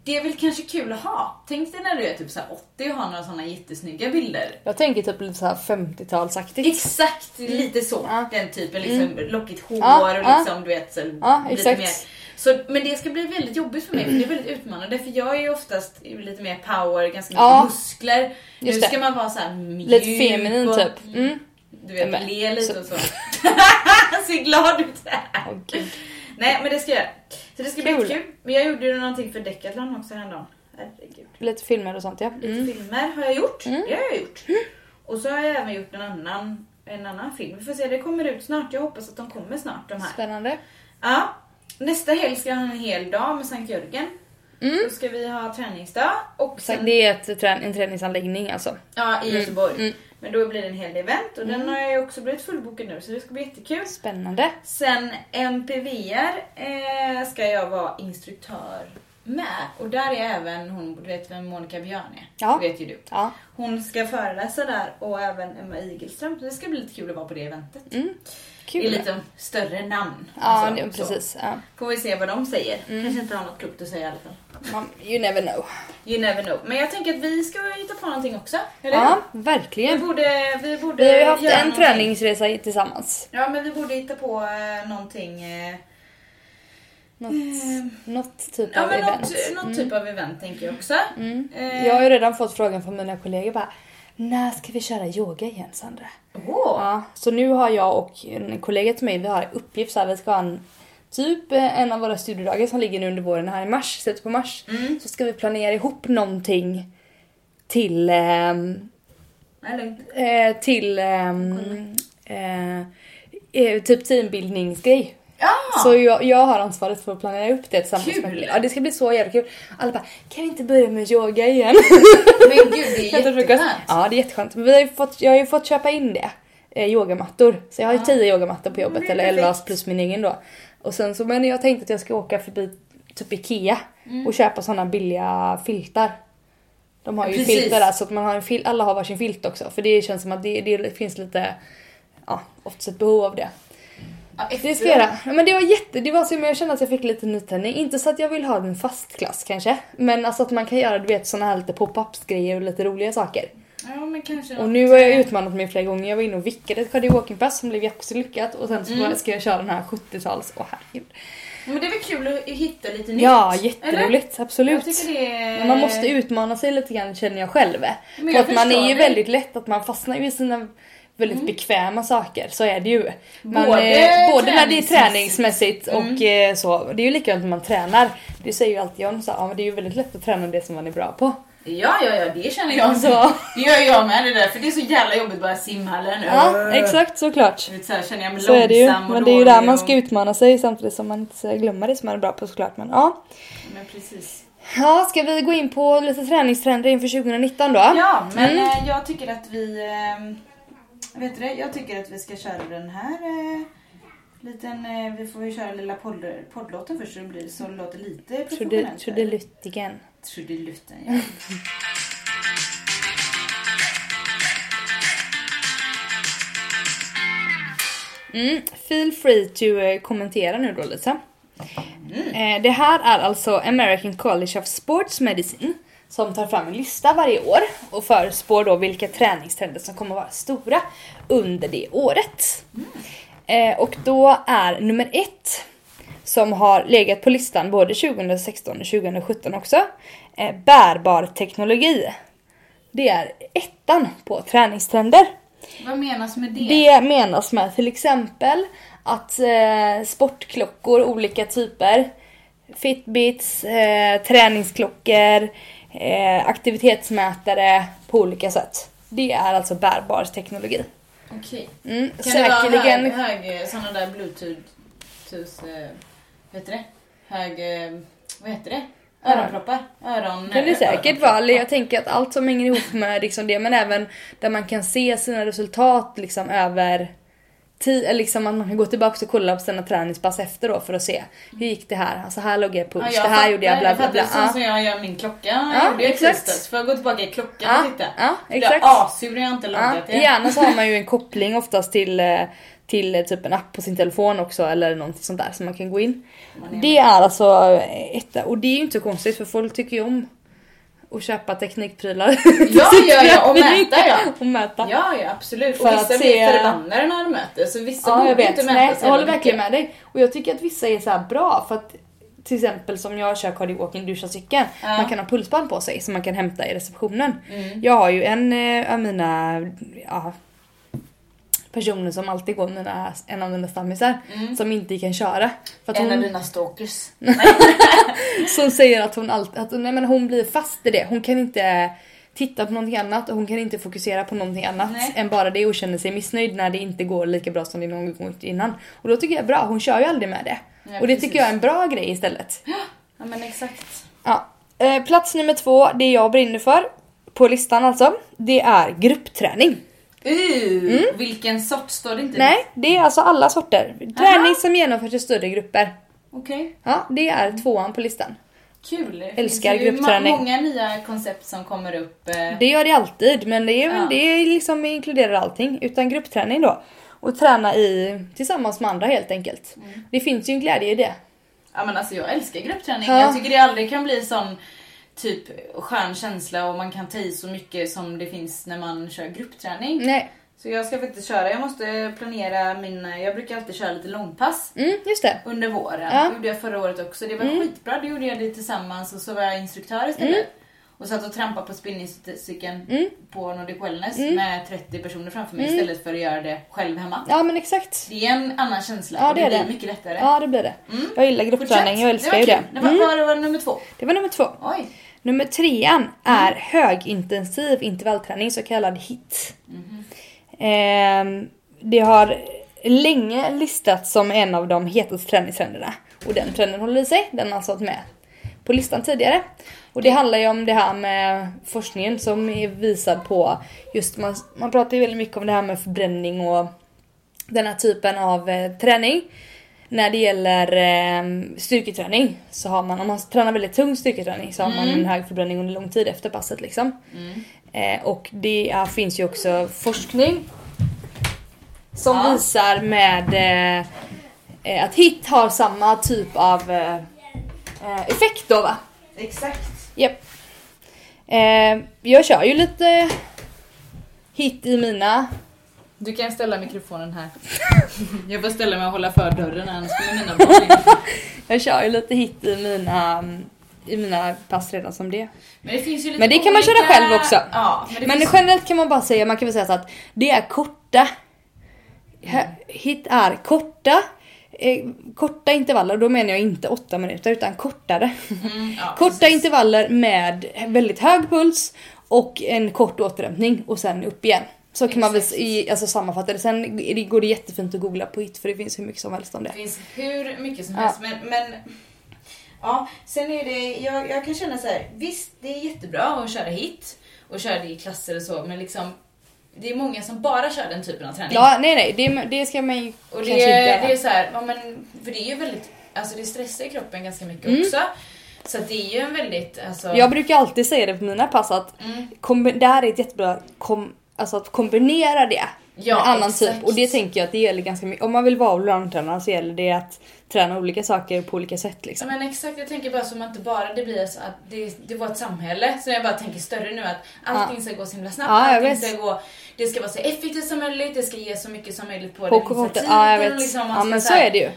S1: det är väl kanske kul att ha? Tänk dig när du är typ så här 80 och har några sådana jättesnygga bilder.
S2: Jag tänker typ lite såhär 50-talsaktigt.
S1: Exakt lite så,
S2: Mm. Ja. Mm.
S1: den typen. Liksom, Lockigt hår
S2: Ja,
S1: och
S2: ja.
S1: liksom, du vet, så,
S2: Ja, exakt.
S1: Så, men det ska bli väldigt jobbigt för mig, för det är väldigt utmanande. För jag är ju oftast lite mer power, ganska mycket
S2: Ja.
S1: muskler. Nu
S2: Just det.
S1: ska man vara så här mjuk
S2: Lite feminin
S1: och-
S2: typ. Mm.
S1: Du vet,
S2: Men-
S1: le lite
S2: så-
S1: och så. Ser glad ut.
S2: Åh, gud.
S1: Nej men det ska jag göra. Så det ska bli
S2: Kul.
S1: kul. Men jag gjorde ju någonting för Decathlon också häromdagen. Herregud.
S2: Lite filmer och sånt ja.
S1: Lite
S2: Mm.
S1: filmer har jag gjort. Det har jag gjort. Och så har jag även gjort en annan, en annan film. Vi får se, det kommer ut snart. Jag hoppas att de kommer snart de här.
S2: Spännande.
S1: Ja. Nästa helg ska jag ha en hel dag med Sankt Jörgen.
S2: Mm.
S1: Då ska vi ha träningsdag. Och
S2: Så
S1: sen
S2: det är ett, trän- en träningsanläggning alltså.
S1: Ja, i Göteborg.
S2: mm.
S1: Men då blir det en hel del event och den har jag ju också blivit fullbokad nu så det ska bli jättekul.
S2: Spännande.
S1: Sen MPVR eh, ska jag vara instruktör med och där är även hon, du vet vem Monica Björn är?
S2: Ja.
S1: Det vet ju du.
S2: Ja.
S1: Hon ska föreläsa där och även Emma Igelström så det ska bli lite kul att vara på det eventet.
S2: Mm. Kul.
S1: Det är lite större namn.
S2: Ja,
S1: alltså,
S2: det-
S1: så.
S2: precis. Mm. Ja.
S1: Får vi se vad de säger. Kanske inte har något klokt att säga i alla fall.
S2: Man, you never know.
S1: You never know. Men jag tänker att vi ska hitta på någonting också. Eller
S2: Ja,
S1: hur? Vi
S2: verkligen.
S1: borde, vi borde
S2: Vi har ju haft
S1: göra
S2: en
S1: någonting.
S2: träningsresa i- tillsammans.
S1: Ja men vi borde hitta på eh, någonting. Eh,
S2: Något, något typ
S1: ja
S2: av
S1: men
S2: event. Mm.
S1: något, något typ av event tänker jag också. Eh,
S2: Jag har ju redan fått frågan från mina kollegor bara när ska vi köra yoga igen Sandra?
S1: åh,
S2: Ja, så nu har jag och en kollega till mig, vi har uppgift så här, vi ska ha en typ eh, en av våra studiedagar som ligger nu under våren här i mars, slutet på mars.
S1: Mm.
S2: Så ska vi planera ihop någonting till ehm,
S1: nej, lugnt.
S2: eh, till ehm, eh, eh, typ teambildningsgrej.
S1: Ja!
S2: Så jag, jag har ansvaret för att planera upp det tillsammans
S1: Kul!
S2: med Ja, det ska bli så jävla kul. Alla bara, kan vi inte börja med yoga igen?
S1: Men gud det är
S2: Efter
S1: ju
S2: frukost.
S1: jätteskönt.
S2: Ja, det är jätteskönt. Men Vi har ju fått, jag har ju fått köpa in det. Eh, yogamattor. Så jag har ju tio yogamattor på jobbet,
S1: det är
S2: eller 11
S1: Mm, perfekt.
S2: plus min egen då. Och sen så, men jag tänkte att jag ska åka förbi typ IKEA
S1: Mm.
S2: och köpa såna billiga filtar. De har ju
S1: Precis.
S2: filtar där så att man har en fil- alla har varsin filt också. För det känns som att det, det finns lite, ja, oftast ett behov av det.
S1: Ja, efter-
S2: Det ska jag göra. Ja, Men det var jätte, det var som jag kände att jag fick lite nytändning. Inte så att jag vill ha en fast klass kanske. Men alltså att man kan göra du vet såna här lite pop-ups grejer och lite roliga saker.
S1: Ja men kanske
S2: Och
S1: något,
S2: nu har jag
S1: eh,
S2: utmanat mig flera gånger. Jag var inne och vickade ett cardio-walking-pass som blev jättelyckat. Och sen så
S1: Mm.
S2: ska jag köra den här 70-tals... Åh herregud.
S1: Men det är väl kul att hitta lite nytt?
S2: Ja,
S1: Eller?
S2: jätteroligt.
S1: Jag
S2: Absolut.
S1: tycker det är...
S2: Men man måste utmana sig lite grann känner jag själv.
S1: Men
S2: För
S1: jag
S2: att man är
S1: förstår
S2: ju
S1: dig.
S2: väldigt lätt att man fastnar ju i sina väldigt bekväma saker, så är det ju. Man,
S1: Både
S2: eh, både när det är
S1: träningsmässigt. Mm.
S2: träningsmässigt och eh, så. Det är ju likadant när man tränar. Det säger ju alltid John, så, ja, men det är ju väldigt lätt att träna det som man är bra på.
S1: Ja, ja, ja, det känner jag
S2: Så.
S1: så. Det gör jag med det där, för det är så jävla jobbigt att börja simhallen.
S2: Ja, exakt såklart.
S1: Du vet, så här, känner jag mig
S2: Så är det ju.
S1: långsam och
S2: Men det är ju
S1: dålig
S2: där man ska
S1: och-
S2: utmana sig samtidigt som man inte ska glömma det som man är bra på såklart. Men, ja.
S1: Men precis.
S2: ja, ska vi gå in på lite träningstrender inför 2019 då?
S1: Ja, men
S2: Mm.
S1: eh, jag tycker att vi... ehm, Vet du det? Jag tycker att vi ska köra den här eh, liten... eh, Vi får ju köra lilla podd, poddlåten först så det blir så det låter lite
S2: Trude-
S1: professionellt.
S2: Trudeluttigen.
S1: Trudelutten, ja.
S2: Mm, feel free to eh, kommentera nu då Lisa. Eh, det här är alltså American College of Sports Medicine som tar fram en lista varje år och förespår då vilka träningstrender som kommer vara stora under det året. Eh, och då är nummer ett som har legat på listan både 2016 och 2017 också, eh, bärbar teknologi. Det är ettan på träningstrender.
S1: Vad menas med det?
S2: Det menas med till exempel att eh, sportklockor, olika typer, fitbits, eh, träningsklockor, eh, aktivitetsmätare på olika sätt. Det är alltså bärbar teknologi.
S1: Okej.
S2: Mm,
S1: Kan
S2: säkerligen.
S1: det vara hög, hög sådana där bluetooth... Tus, eh, vad heter det? Hög... Eh, vad heter det? Öronproppar? Öron...
S2: Det kan det säkert
S1: öronproppar.
S2: vara. Eller Jag tänker att allt som hänger ihop med liksom det, men även där man kan se sina resultat liksom över tid, eller liksom att man kan gå tillbaka och kolla på sina träningspass efter då för att se hur gick det här? Alltså här låg jag i puls,
S1: Ja,
S2: det här gjorde jag bla
S1: fattar,
S2: bla bla.
S1: Jag fattar,
S2: Ja.
S1: så som jag gör min klocka.
S2: Ja,
S1: jag gjorde
S2: exakt.
S1: exakt. Så får jag gå tillbaka i klockan
S2: Ja,
S1: och titta.
S2: ja,
S1: Blir
S2: exakt.
S1: Jag assur när jag inte
S2: Ja,
S1: loggat
S2: I hjärnan så har man ju en koppling oftast till, eh, till eh, typ en app på sin telefon också eller någonting sånt där som man kan gå in. Det är alltså eh, etta och det är ju inte så konstigt för folk tycker ju om att köpa teknikprylar. till
S1: Ja,
S2: sin
S1: ja, ja, och
S2: träning.
S1: mäta, ja.
S2: Och mäta.
S1: Ja, ja absolut.
S2: För
S1: och
S2: att
S1: vissa
S2: se-
S1: blir förbannade när de möter. Så vissa
S2: Ja,
S1: borde
S2: jag vet.
S1: inte mäta
S2: Nej,
S1: sig
S2: jag håller
S1: heller.
S2: verkligen med dig. Och jag tycker att vissa är så här bra för att till exempel som jag kör cardio walking, du kör cykeln.
S1: Ja. Mm.
S2: Man kan ha pulsband på sig som man kan hämta i receptionen. Jag har ju en eh, av mina ja, personer som alltid går, mina, en av mina stammisar, som inte kan köra. För att
S1: Mm. En av
S2: hon,
S1: dina stalkers.
S2: som säger att hon alltid, att, nej, men hon blir fast i det. Hon kan inte titta på någonting annat och hon kan inte fokusera på någonting annat
S1: Nej.
S2: än bara det och känner sig missnöjd när det inte går lika bra som det någon gång gjort innan. Och då tycker jag bra, hon kör ju aldrig med det.
S1: Nej,
S2: och det
S1: precis.
S2: tycker jag är en bra grej istället.
S1: Ja men exakt.
S2: Ja. Eh, plats nummer två, det jag brinner för på listan alltså, det är gruppträning.
S1: Uh, Vilken sort står det inte?
S2: Mm. Nej, det är alltså alla sorter. Träning som genomförs i större grupper.
S1: Okej,
S2: Ja, det är tvåan på listan.
S1: kul. Det
S2: Älskar
S1: finns ju
S2: gruppträning.
S1: ma- många nya koncept som kommer upp. eh,
S2: Det gör det alltid, men det, är,
S1: Ja.
S2: det är liksom inkluderar allting. Utan gruppträning då. Och träna i, tillsammans med andra helt enkelt. Det finns ju en glädje i det.
S1: Ja men alltså jag älskar gruppträning.
S2: Ja.
S1: Jag tycker det aldrig kan bli sån typ skön känsla och man kan ta i så mycket som det finns när man kör gruppträning.
S2: Nej,
S1: Så jag ska faktiskt köra, jag måste planera min, jag brukar alltid köra lite långpass
S2: mm, just det.
S1: under våren.
S2: Ja. Mm.
S1: Det gjorde jag förra året också, det var skitbra. Det gjorde jag det tillsammans och så var jag instruktör istället. Och satt och trampade på spinningcykeln
S2: Mm.
S1: på Nordic Wellness med 30 personer framför mig istället för att göra det själv hemma.
S2: Ja men exakt.
S1: Det är en annan känsla
S2: Ja,
S1: och
S2: det
S1: det
S2: är
S1: blir
S2: det.
S1: mycket lättare.
S2: Ja det blir det. Jag gillar gruppträning, jag älskar ju det.
S1: Det var,
S2: Mm,
S1: var, var nummer två.
S2: det var nummer två.
S1: Oj.
S2: Nummer trean är högintensiv intervallträning, så kallad HIT. Ehm, det har länge listats som en av de hetaste träningstrenderna. Och den trenden håller i sig, den har alltså varit med på listan tidigare. Och det handlar ju om det här med forskningen som är visad på just, man, man pratar ju väldigt mycket om det här med förbränning och den här typen av eh, träning. När det gäller eh, styrketräning så har man, om man tränar väldigt tung styrketräning så har man en hög förbränning under lång tid efter passet liksom. Eh, och det är, finns ju också forskning som
S1: Ja.
S2: visar med eh, eh, att HIT har samma typ av eh, eh, effekt då va?
S1: Exakt.
S2: Japp. Eh, jag kör ju lite HIT i mina
S1: Du kan ställa mikrofonen här. Jag får ställa mig och hålla för dörren annars kommer mina barn in.
S2: Jag kör ju lite hit i mina, i mina pass redan som det.
S1: Men det finns ju lite
S2: Men det kan man köra
S1: olika-
S2: själv också.
S1: Ja, men det
S2: Men
S1: finns...
S2: generellt kan man bara säga, man kan väl säga så att det är korta. Hö- Hit är korta. Eh, korta intervaller, och då menar jag inte åtta minuter utan kortare.
S1: Mm, ja,
S2: korta intervaller med väldigt hög puls och en kort återhämtning och sen upp igen. Så kan man väl i- alltså sammanfatta det. Sen är det- går det jättefint att googla på hit för det finns hur mycket som helst om det.
S1: Det finns hur mycket som
S2: Ja.
S1: helst men, men Ja, sen är det, jag, jag kan känna så här, visst det är jättebra att köra hit och köra det i klasser och så men liksom det är många som bara kör den typen av träning.
S2: Ja, nej nej, det, det ska man ju
S1: Och det,
S2: kanske inte göra.
S1: det är så här, ja, men, för det är ju väldigt, alltså det stressar ju kroppen ganska mycket
S2: Mm.
S1: också. Så att det är ju en väldigt, alltså.
S2: Jag brukar alltid säga det på mina pass att
S1: Mm.
S2: kombi- det här är ett jättebra kom- alltså att kombinera det
S1: Ja,
S2: med annan
S1: exakt.
S2: typ. Och det tänker jag att det gäller ganska mycket. Om man vill vara allroundtränare så gäller det att träna olika saker på olika sätt
S1: Ja,
S2: liksom.
S1: men exakt, jag tänker bara som att det bara det blir så att det, det var ett samhälle. Så jag bara tänker större nu att allting ska gå så himla snabbt.
S2: Ja, jag
S1: allting
S2: vet.
S1: ska gå, det ska vara så effektivt som möjligt, det ska ge så mycket som möjligt på,
S2: På
S1: den
S2: kortet,
S1: initiativet
S2: ja jag
S1: Mm. och
S2: vet.
S1: Liksom, man
S2: ja
S1: ska
S2: men så
S1: här-
S2: är det ju.
S1: man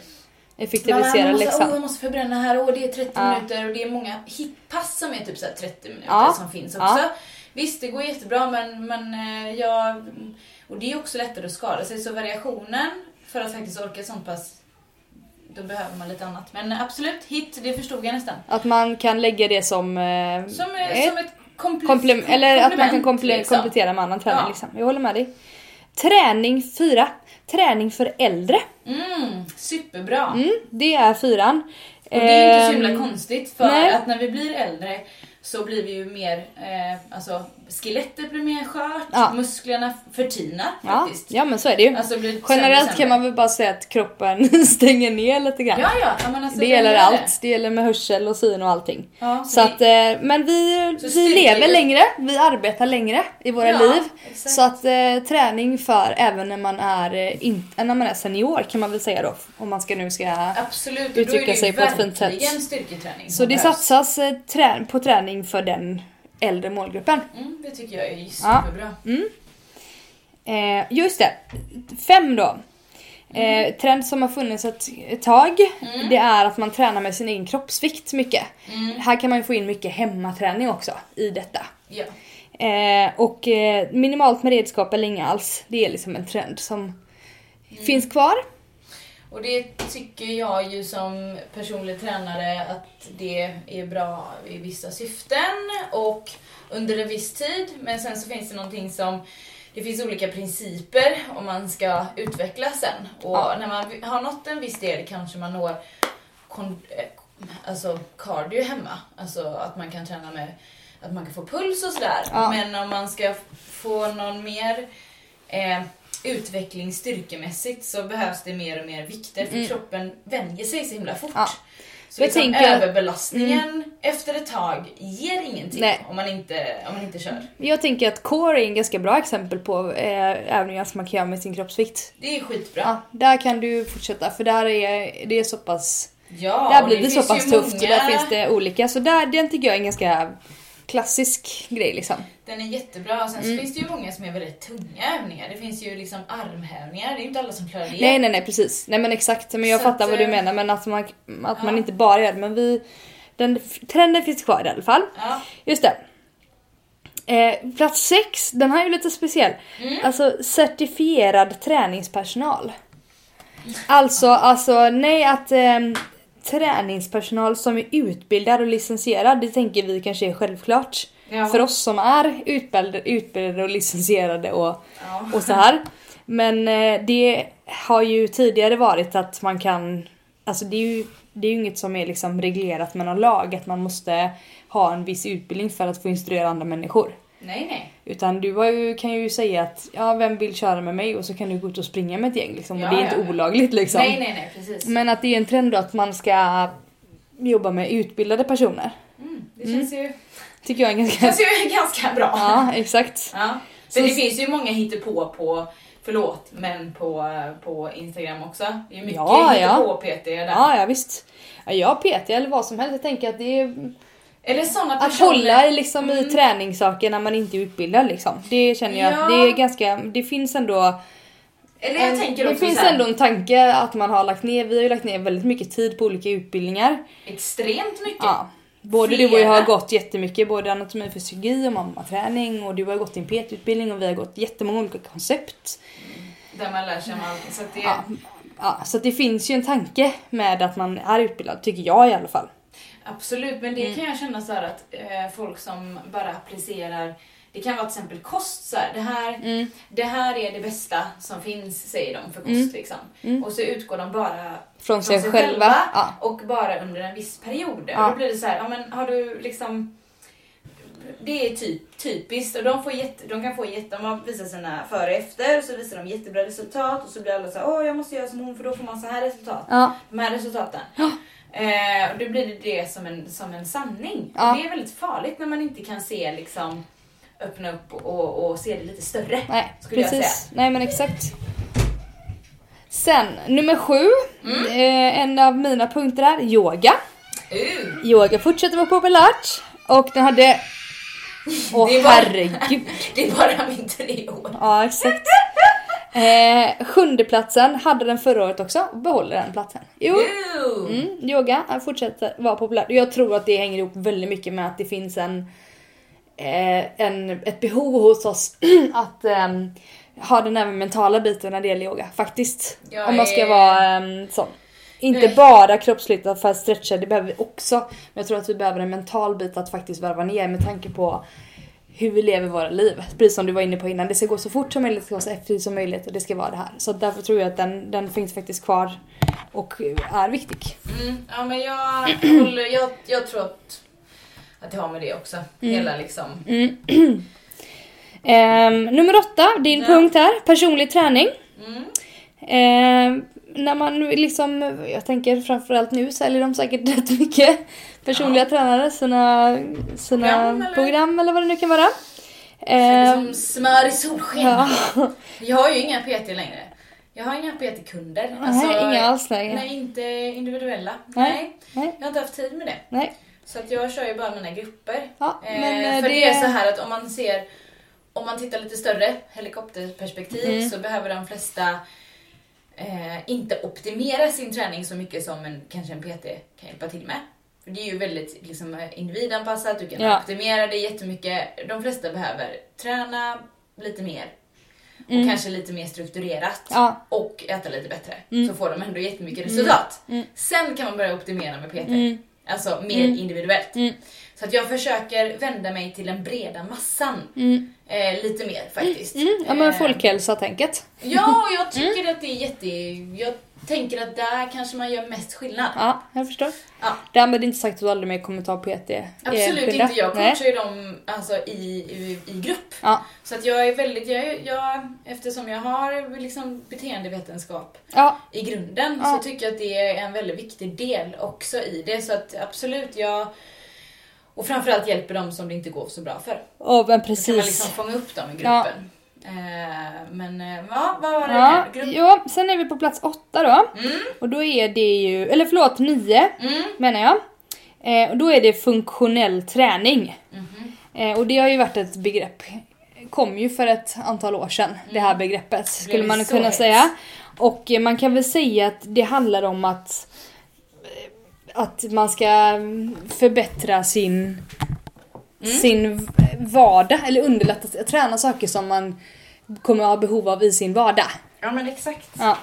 S2: Effektivisera
S1: måste,
S2: liksom.
S1: "Åh, jag måste förbränna här, och det är 30
S2: Ja.
S1: minuter och det är många hitpass som är typ så här 30 minuter
S2: Ja.
S1: som finns
S2: Ja.
S1: också. Visst, det går jättebra men, men eh, jag... Och det är också lättare att skada sig så variationen för att faktiskt orka ett sånt pass, då behöver man lite annat. Men eh, absolut, hit, det förstod jag nästan.
S2: Att man kan lägga det som... Eh,
S1: Som,
S2: ett-
S1: som ett komple-
S2: Komplem- eller att man kan komple-
S1: liksom.
S2: komplettera med annan träning
S1: Ja.
S2: liksom. Jag håller med dig. Träning 4. Träning för äldre.
S1: Mm, superbra.
S2: Mm, det är fyran.
S1: Och det är inte så
S2: Ehm,
S1: himla konstigt för
S2: nej.
S1: att när vi blir äldre så blir vi ju mer, eh, alltså skelettet blir mer skört,
S2: Ja.
S1: musklerna förtinar
S2: Ja,
S1: faktiskt.
S2: ja men så är det ju.
S1: Alltså blir sämre och
S2: Generellt
S1: sämre.
S2: kan man väl bara säga att kroppen stänger ner lite grann.
S1: Ja, ja, ja men alltså,
S2: det
S1: den
S2: gäller
S1: gör
S2: allt,
S1: det.
S2: det. gäller med hörsel och syn och allting.
S1: Ja,
S2: Så att, eh, men vi,
S1: Så
S2: vi
S1: styrka-
S2: lever längre, vi arbetar längre i våra
S1: Ja,
S2: liv.
S1: exakt.
S2: Så att eh, träning för även när man, är, eh, in, när man är senior kan man väl säga då. Om man ska nu ska...
S1: absolut,
S2: uttrycka
S1: uttrycka sig på ett fint sätt. Det är ju
S2: sätt.
S1: styrketräning
S2: Så
S1: som
S2: det
S1: behövs.
S2: satsas eh, trä, på träning för den äldre målgruppen.
S1: Mm, det tycker jag är
S2: Ja.
S1: superbra.
S2: Eh, just det, fem då. Eh,
S1: Mm.
S2: trend som har funnits ett ett tag, Mm. det är att man tränar med sin egen kroppsvikt mycket.
S1: Mm.
S2: Här kan man ju få in mycket hemmaträning också i detta.
S1: Ja.
S2: Eh, och eh, minimalt med redskap eller inga alls, det är liksom en trend som
S1: Mm.
S2: finns kvar.
S1: Och det tycker jag ju som personlig tränare att det är bra i vissa syften och under en viss tid. Men sen så finns det någonting som det finns olika principer om man ska utvecklas sen. Och
S2: Ja.
S1: när man har nått en viss del kanske man når kon- eh, alltså cardio hemma. Alltså att man kan träna med att man kan få puls och sådär.
S2: Ja.
S1: Men om man ska f- få någon mer eh, utveckling styrkemässigt så behövs det mer och mer vikter för kroppen vänjer sig så himla fort.
S2: Mm. Ja.
S1: Så
S2: Jag
S1: liksom
S2: tänker att- Mm.
S1: överbelastningen efter ett tag ger ingenting
S2: Nej.
S1: om man, inte, om man inte kör.
S2: Jag tänker att core är en ganska bra exempel på eh, övningar som man kan göra med sin kroppsvikt.
S1: Det är skitbra.
S2: Ja, där kan du fortsätta för där är det är så pass...
S1: Ja,
S2: där
S1: och
S2: blir det, så
S1: finns
S2: pass
S1: ju
S2: tufft
S1: många-
S2: och där finns det olika. Så där, den tycker jag är en ganska klassisk grej liksom.
S1: Den är jättebra. Sen
S2: Mm.
S1: så finns det ju många som är väldigt tunga övningar. Det finns ju liksom armhävningar. Det är ju inte alla som klarar det.
S2: Nej nej nej precis. Nej men exakt. Men jag
S1: Så
S2: fattar
S1: att,
S2: vad du
S1: eh,
S2: menar men att man, att man
S1: ja.
S2: inte bara gör det. Men vi... Den, trenden finns kvar i alla fall.
S1: Ja.
S2: Just det. Eh, plats sex, den här är ju lite speciell.
S1: Mm.
S2: Alltså certifierad träningspersonal. Alltså, alltså nej att ehm, träningspersonal som är utbildad och licensierad, det tänker vi kanske är självklart.
S1: Ja.
S2: För oss som är utbildade, utbildade och licensierade och,
S1: Ja.
S2: och så här. Men eh, det har ju tidigare varit att man kan, alltså det är ju, det är ju inget som är liksom reglerat med någon lag, att man måste ha en viss utbildning för att få instruera andra människor.
S1: Nej, nej.
S2: Utan du har ju, kan ju säga att ja, vem vill köra med mig och så kan du gå ut och springa med ett gäng liksom.
S1: Ja,
S2: och det är
S1: ja,
S2: inte
S1: ja.
S2: olagligt liksom.
S1: Nej, nej, nej. Precis.
S2: Men att det är en trend då att man ska jobba med utbildade personer.
S1: Mm. Det känns ju,
S2: Tycker jag är
S1: det
S2: ganska...
S1: känns ju ganska bra.
S2: ja, exakt.
S1: Ja.
S2: Så-
S1: För det finns ju många hittepå på, förlåt, men på, på Instagram också. Det är ju mycket
S2: Ja, ja.
S1: hittepå-PT där.
S2: Ja, ja visst. Ja, jag PT eller vad som helst. Jag tänker att det är
S1: Eller sådana
S2: att
S1: personer.
S2: hålla i liksom i träningssaker när man inte är utbildad liksom. Det känner jag att det är
S1: Ja.
S2: ganska, det finns ändå
S1: Eller jag
S2: en-
S1: tänker
S2: Mm, Det
S1: också
S2: finns
S1: så här,
S2: ändå en tanke att man har lagt ner, vi har ju lagt ner väldigt mycket tid på olika utbildningar.
S1: extremt mycket.
S2: Ja. Både du och jag har
S1: Flera.
S2: gått jättemycket, både anatomi och fysiologi och mammaträning och du har gått din PT-utbildning och vi har gått jättemånga olika koncept.
S1: Där man lär sig om allt. Så att det,
S2: Ja. Ja, så att det finns ju en tanke med att man är utbildad, tycker jag i alla fall.
S1: Absolut, men det
S2: Mm.
S1: kan jag känna så här att eh, folk som bara applicerar det kan vara till exempel kost, så här, det, här,
S2: Mm.
S1: det här är det bästa som finns säger de för
S2: Mm.
S1: kost. Liksom. Och så utgår de bara
S2: Från sig själva, ja.
S1: och bara under en viss period.
S2: Ja.
S1: Och då blir det så här, ja, men har du liksom det är typ, typiskt och de, får jätte, de kan få jätte, om man visar sina före och efter så visar de jättebra resultat och så blir alla så här, åh jag måste göra som hon för då får man så här resultat
S2: Ja.
S1: de här resultaten. Eh, och då blir det det som en, som en sanning.
S2: Ja.
S1: Och det är väldigt farligt när man inte kan se liksom öppna upp och, och se det lite större.
S2: Nej,
S1: skulle jag
S2: precis. Nej men exakt. Sen, nummer sju.
S1: Mm.
S2: Eh, en av mina punkter är yoga.
S1: Uh,
S2: Yoga fortsätter vara populärt. Och den hade... Åh
S1: Det var-
S2: herregud.
S1: det är bara min treåring.
S2: Ja exakt. Eh, sjunde platsen hade den förra året också och behåller den platsen. Jo,
S1: Uh.
S2: mm, yoga eh, fortsätter vara populärt. Jag tror att det hänger ihop väldigt mycket med att det finns en, eh, en, ett behov hos oss att ehm, ha den även mentala biten när det gäller yoga faktiskt.
S1: Jag
S2: Om man ska
S1: är-
S2: vara ehm, sån. Inte
S1: Nej.
S2: bara kroppsligt för att stretcha, det behöver vi också. Men jag tror att vi behöver en mental bit att faktiskt varva ner med tanke på hur vi lever våra liv. Precis som du var inne på innan, det ska gå så fort som möjligt, det ska gå så effektivt som möjligt och det ska vara det här. Så därför tror jag att den, den finns faktiskt kvar och är viktig.
S1: Mm, ja, men jag, håller, jag, jag tror att, att det har med det också.
S2: Mm.
S1: Hela liksom.
S2: Ehm, nummer åtta, din
S1: Ja.
S2: punkt här, personlig träning.
S1: Mm.
S2: Ehm, när man liksom, jag tänker framförallt nu säljer de säkert rätt mycket personliga tränare, sina, sina program,
S1: Program,
S2: eller?
S1: eller?
S2: vad det nu kan vara.
S1: Kändes
S2: Ehm,
S1: som smör i solsken.
S2: ja.
S1: Jag har ju inga PT längre. Jag har inga PT-kunder.
S2: nej, inga alls längre. Nej.
S1: Alltså, Nej, inte individuella.
S2: Nej.
S1: nej. Jag har inte haft tid med det.
S2: nej.
S1: Så att jag kör ju bara mina grupper.
S2: Ja,
S1: Eh,
S2: men, eh,
S1: för
S2: det-
S1: det är så här att om man ser, om man tittar lite större helikopterperspektiv
S2: Mm.
S1: så behöver de flesta eh, inte optimera sin träning så mycket som en, kanske en PT kan hjälpa till med. För det är ju väldigt liksom, eh, individanpassat, du kan
S2: Ja.
S1: optimera det jättemycket. De flesta behöver träna lite mer. Och kanske lite mer strukturerat.
S2: Mm. Ja. Mm.
S1: Och äta lite bättre. Så får de ändå jättemycket resultat. Sen kan man börja optimera med PT.
S2: Mm.
S1: Alltså mer individuellt. Så att jag försöker vända mig till den breda massan. Eh, lite mer faktiskt.
S2: mm. Ja men Mm.
S1: Eh,
S2: folkhälsa-tänket.
S1: Ja, och jag tycker att det är jätte... Jag tänker att där kanske man gör mest skillnad.
S2: Ja, jag förstår.
S1: Ja.
S2: Därmed inte sagt att du aldrig mer kommer ta PT.
S1: Absolut
S2: enskilda.
S1: inte, jag
S2: Nej.
S1: coachar ju dem alltså, i, i, i grupp.
S2: Ja.
S1: Så att jag är väldigt, jag, är- jag, eftersom jag har liksom beteendevetenskap
S2: ja,
S1: i grunden
S2: Ja.
S1: så tycker jag att det är en väldigt viktig del också i det. Så att absolut, jag och framförallt hjälper de som det inte går så bra för.
S2: ja men
S1: Då kan man
S2: precis.
S1: liksom fånga upp dem i
S2: Ja.
S1: gruppen. Eh, Men eh, ja, vad var det
S2: Ja,
S1: här? Grupp?
S2: ja, sen är vi på plats åtta då.
S1: Mm.
S2: Och då är det ju, eller förlåt, nio
S1: Mm.
S2: menar jag. Eh, och då är det funktionell träning.
S1: Mhm.
S2: Eh, och det har ju varit ett begrepp, kom ju för ett antal år sedan, det här begreppet skulle
S1: Mm. Blev
S2: man
S1: så
S2: kunna
S1: hett.
S2: säga. Och eh, man kan väl säga att det handlar om att, eh, att man ska mm, förbättra sin,
S1: Mm.
S2: sin v- vardag, eller underlätta, träna saker som man kommer ha behov av i sin vardag.
S1: Ja men exakt.
S2: Ja.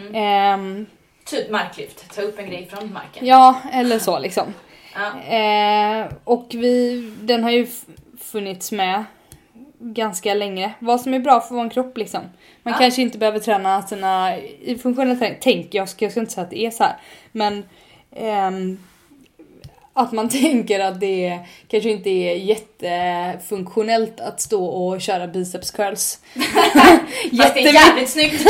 S1: Mm.
S2: Ehm,
S1: Typ marklyft, ta upp en grej från marken.
S2: ja, eller så liksom.
S1: Ja.
S2: Eh, och vi, den har ju f- funnits med ganska länge. Vad som är bra för vår kropp liksom. Man
S1: Ja.
S2: kanske inte behöver träna sina i funktionella träning. Tänk, jag ska, jag ska inte säga att det är så här. Men ehm, att man tänker att det är, kanske inte är jättefunktionellt att stå och köra biceps curls.
S1: Fast det är
S2: Jättemycket-
S1: jävligt snyggt.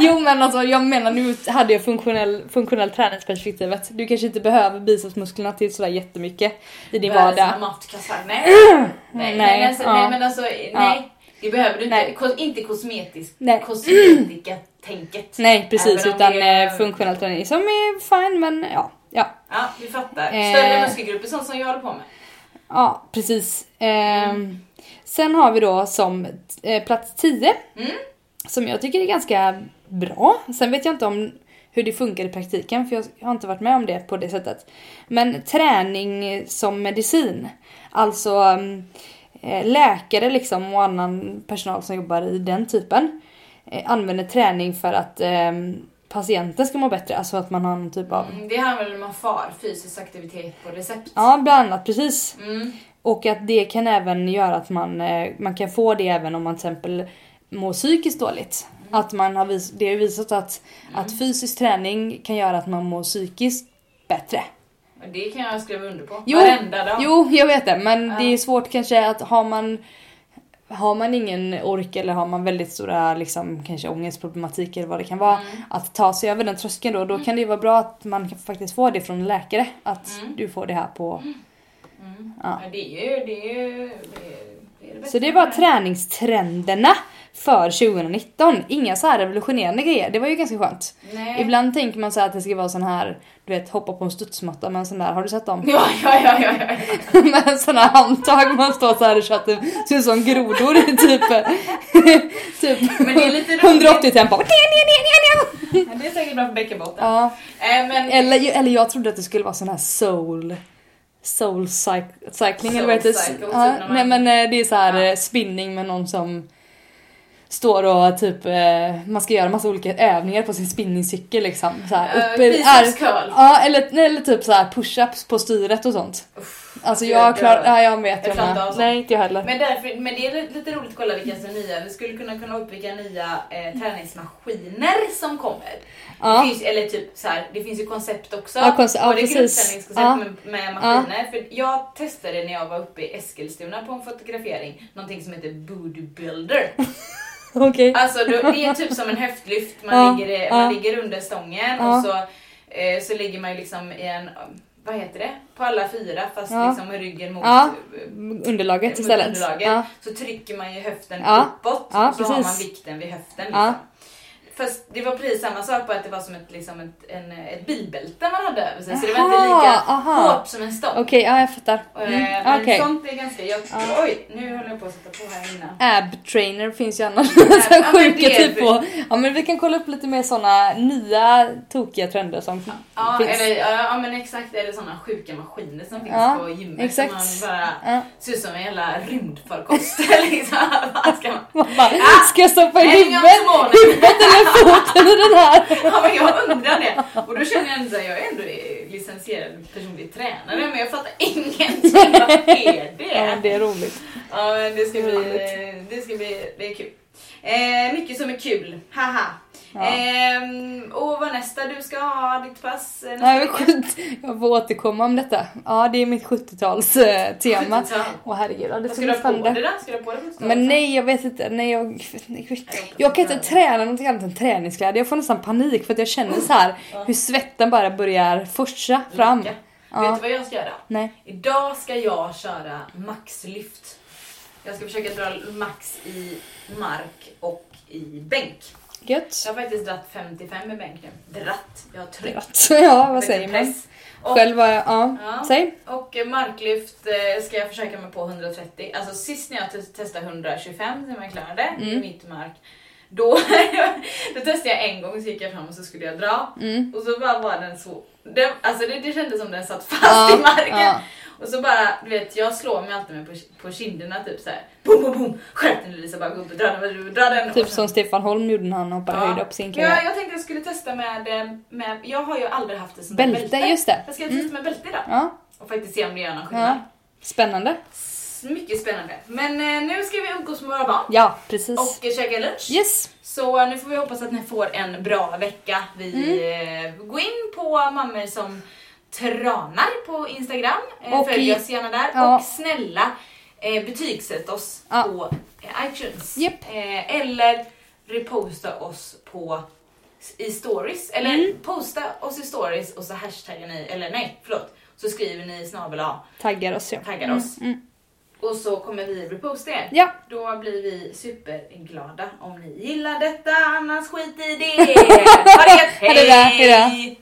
S2: Jo men alltså jag menar nu hade jag funktionell, funktionell träningsperspektivet. Du kanske inte behöver bicepsmusklerna till sådär jättemycket i din
S1: Världens
S2: vardag.
S1: matkassar. Nej. nej,
S2: Nej,
S1: nej, alltså,
S2: ja.
S1: nej men alltså nej. Det behöver du inte.
S2: Nej.
S1: Ko- inte kosmetisk,
S2: Nej.
S1: kosmetika-tänket.
S2: Nej precis
S1: Även om
S2: utan
S1: det är-
S2: eh, funktionell träning som är fine men ja. Ja,
S1: Ja, vi fattar.
S2: Eh.
S1: Större muskelgrupper, sånt som jag håller på med.
S2: ja precis. Ehm, Sen har vi då som eh, plats 10.
S1: Mm.
S2: Som jag tycker är ganska bra. Sen vet jag inte om hur det funkar i praktiken för jag har inte varit med om det på det sättet. Men träning som medicin. Alltså mm, eh, läkare liksom och annan personal som jobbar i den typen eh, använder träning för att eh, patienten ska må bättre. Alltså att man har någon typ av...
S1: Mm, det handlar om man far, fysisk aktivitet på recept.
S2: Ja, bland annat precis.
S1: Mm.
S2: Och att det kan även göra att man, eh, man kan få det även om man till exempel mår psykiskt dåligt.
S1: Mm.
S2: Att man har vis- det är visat att, att fysisk träning kan göra att man mår psykiskt bättre.
S1: Och Det kan jag skriva under på.
S2: Jo,
S1: Varenda dag.
S2: Jo, jag vet det, men det är
S1: Ja.
S2: svårt kanske att har man har man ingen ork eller har man väldigt stora liksom, kanske ångestproblematik eller vad det kan vara.
S1: Mm.
S2: Att ta sig över den tröskeln då, då kan det ju vara bra att man kan faktiskt få det från en läkare. Att
S1: Mm.
S2: du får det här på...
S1: Mm.
S2: Ja.
S1: Ja. det är ju... Det är ju det är, det är det
S2: Så
S1: bästa
S2: det var
S1: med
S2: träningstrenderna för 2019. Inga så här revolutionerande grejer. Det var ju ganska skönt.
S1: Nej.
S2: Ibland tänker man så här att det ska vara sån här, du vet hoppa på en studsmatta med en sån där, har du sett dem?
S1: Ja, ja, ja, ja, ja.
S2: med en sån här handtag man står så här och kör typ, ser ut som grodor i typ, typ
S1: Men det är lite roligt.
S2: 180 tempo.
S1: ja. Det är säkert bra för bäckenbotten.
S2: Ja.
S1: Eh, men
S2: Eller, eller jag trodde att det skulle vara sån här soul Soul cyc- cycling eller vad heter
S1: Soul cycle,
S2: det?
S1: typ
S2: Ja,
S1: när man-
S2: nej men eh, det är så här
S1: Ja.
S2: eh, spinning med någon som står och typ eh, man ska göra massa olika övningar på sin spinningcykel liksom. Så här,
S1: eh,
S2: uppe i- är-
S1: biceps curl.
S2: Ja eller, nej, eller typ så här push-ups på styret och sånt. alltså
S1: jag
S2: jag
S1: dör.
S2: klarar, ja jag vet
S1: Jag klarar
S2: med.
S1: inte av sånt.
S2: Nej inte jag heller.
S1: Men, därför, men det är lite roligt att kolla vilka som är nya. Vi skulle kunna kolla upp vilka nya eh, träningsmaskiner som kommer.
S2: Ja.
S1: Det, finns, eller typ så här, det finns ju koncept också.
S2: Ja, konce- ja,
S1: Både
S2: precis.
S1: gruppträningskoncept
S2: Ja.
S1: med, med maskiner. För jag testade när jag var uppe i Eskilstuna på en fotografering någonting som heter Booty Builder.
S2: Okej.
S1: Alltså då, det är typ som en höftlyft, man,
S2: Ja,
S1: ligger, i-
S2: ja.
S1: man ligger under stången
S2: Ja.
S1: och så, eh, så ligger man ju liksom i en, vad heter det, på alla fyra fast
S2: Ja.
S1: liksom med ryggen mot
S2: Ja.
S1: eh,
S2: Underlaget
S1: mot
S2: istället.
S1: underlaget,
S2: Ja.
S1: så trycker man ju höften
S2: Ja.
S1: uppåt
S2: Ja,
S1: så har man
S2: precis.
S1: vikten vid höften. Liksom.
S2: Ja.
S1: Fast det var precis samma sak bara att det var som ett, liksom ett, en, ett bilbälte man hade över sig så det var
S2: Aha,
S1: inte lika
S2: aha.
S1: hårt som en stång.
S2: Okej, ja jag fattar.
S1: Eh,
S2: Mm.
S1: Men
S2: okej.
S1: sånt är ganska... Jag, Oj, nu håller jag på att sätta på här innan.
S2: Ab trainer finns ju annars
S1: Ja,
S2: så
S1: men
S2: sjuka
S1: det-
S2: typ på. Ja men vi kan kolla upp lite mer såna nya tokiga trender som
S1: Ja,
S2: finns.
S1: eller, ja, ja men exakt, eller sådana sjuka maskiner som finns
S2: Ja,
S1: på gymmet
S2: exakt.
S1: som man bara
S2: Ja.
S1: ser ut som en jävla rymdfarkost. liksom. Vad ska man?
S2: Man bara, ska jag stoppa i
S1: En gång
S2: huvudet,
S1: om året.
S2: huvudet eller foten i den här?
S1: Ja, men jag undrar det. Och då känner jag ändå, jag är ändå licensierad personlig tränare men jag fattar ingenting. Vad är
S2: Ja,
S1: det?
S2: det är roligt.
S1: Ja, men det ska bli,
S2: Roligt.
S1: det ska bli, det är kul. Eh, mycket som är kul, haha.
S2: Ja.
S1: Ehm, och vad nästa du ska ha ditt pass eh, nästa
S2: Nej, men skit. Jag får återkomma om detta. Ja, det är mitt 70-talstema.
S1: 70-tal.
S2: Åh herregud, ja, det
S1: Vad ska
S2: ska
S1: du
S2: bli
S1: ha på dig
S2: spännande.
S1: då? Ska du ha på dig på
S2: Men nej, jag vet inte. Nej, jag, jag kan inte träna någonting annat än träningskläder. Jag får nästan panik för att jag känner så här hur svetten bara börjar forsa fram.
S1: Vet
S2: Ja.
S1: du vad jag ska göra?
S2: Nej.
S1: Idag ska jag köra maxlyft. Jag ska försöka dra max i mark och i bänk.
S2: Gött.
S1: Jag har faktiskt dratt 55 i bänk nu. Dratt, jag har tryckt.
S2: Gött. Ja, vad
S1: Lite
S2: säger man?
S1: press. Och,
S2: Själv var jag, ja.
S1: Ja.
S2: Säg.
S1: och eh, marklyft eh, ska jag försöka mig på 130. Alltså sist när jag te- testade 125 när man klarade
S2: Mm.
S1: mitt mark. Då, då testade jag en gång så gick jag fram och så skulle jag dra.
S2: Mm.
S1: Och så bara var den så... Den, alltså det, det kändes som den satt fast
S2: Ja,
S1: i marken.
S2: ja.
S1: Och så bara, du vet jag slår mig alltid med på, på kinderna typ såhär. Boom, boom, boom! Skärp dig nu Lisa, bara gå upp och dra den, dra den.
S2: Typ
S1: Och
S2: som Stefan Holm gjorde när han hoppade höjd upp sin
S1: men jag,
S2: karriär.
S1: jag tänkte jag skulle testa med, eh, med jag har ju aldrig haft ett sånt där
S2: Bälte, just det.
S1: Jag ska testa med bälte idag
S2: Ja.
S1: och faktiskt se om det gör någon skillnad.
S2: ja. Spännande.
S1: S- Mycket spännande. Men eh, nu ska vi umgås med våra barn
S2: Ja, precis.
S1: och eh, käka lunch.
S2: Yes.
S1: Så eh, nu får vi hoppas att ni får en bra vecka. Vi
S2: Mm.
S1: eh, går in på mammor som tranar på Instagram. Eh,
S2: Och
S1: Följ
S2: i-
S1: oss gärna där.
S2: Ja.
S1: Och snälla eh, betygsätt oss
S2: Ja.
S1: på eh, iTunes.
S2: Japp.
S1: Eh, eller reposta oss på i stories. Eller
S2: Mm.
S1: posta oss i stories och så hashtaggar ni, eller nej förlåt, så skriver ni snabel A,
S2: Taggar oss ja.
S1: taggar oss.
S2: mm.
S1: Och så kommer vi reposta er.
S2: Ja.
S1: Då blir vi superglada om ni gillar detta, annars skit i det! Ha det gött,
S2: Ha det bra,
S1: hej!
S2: hejdå.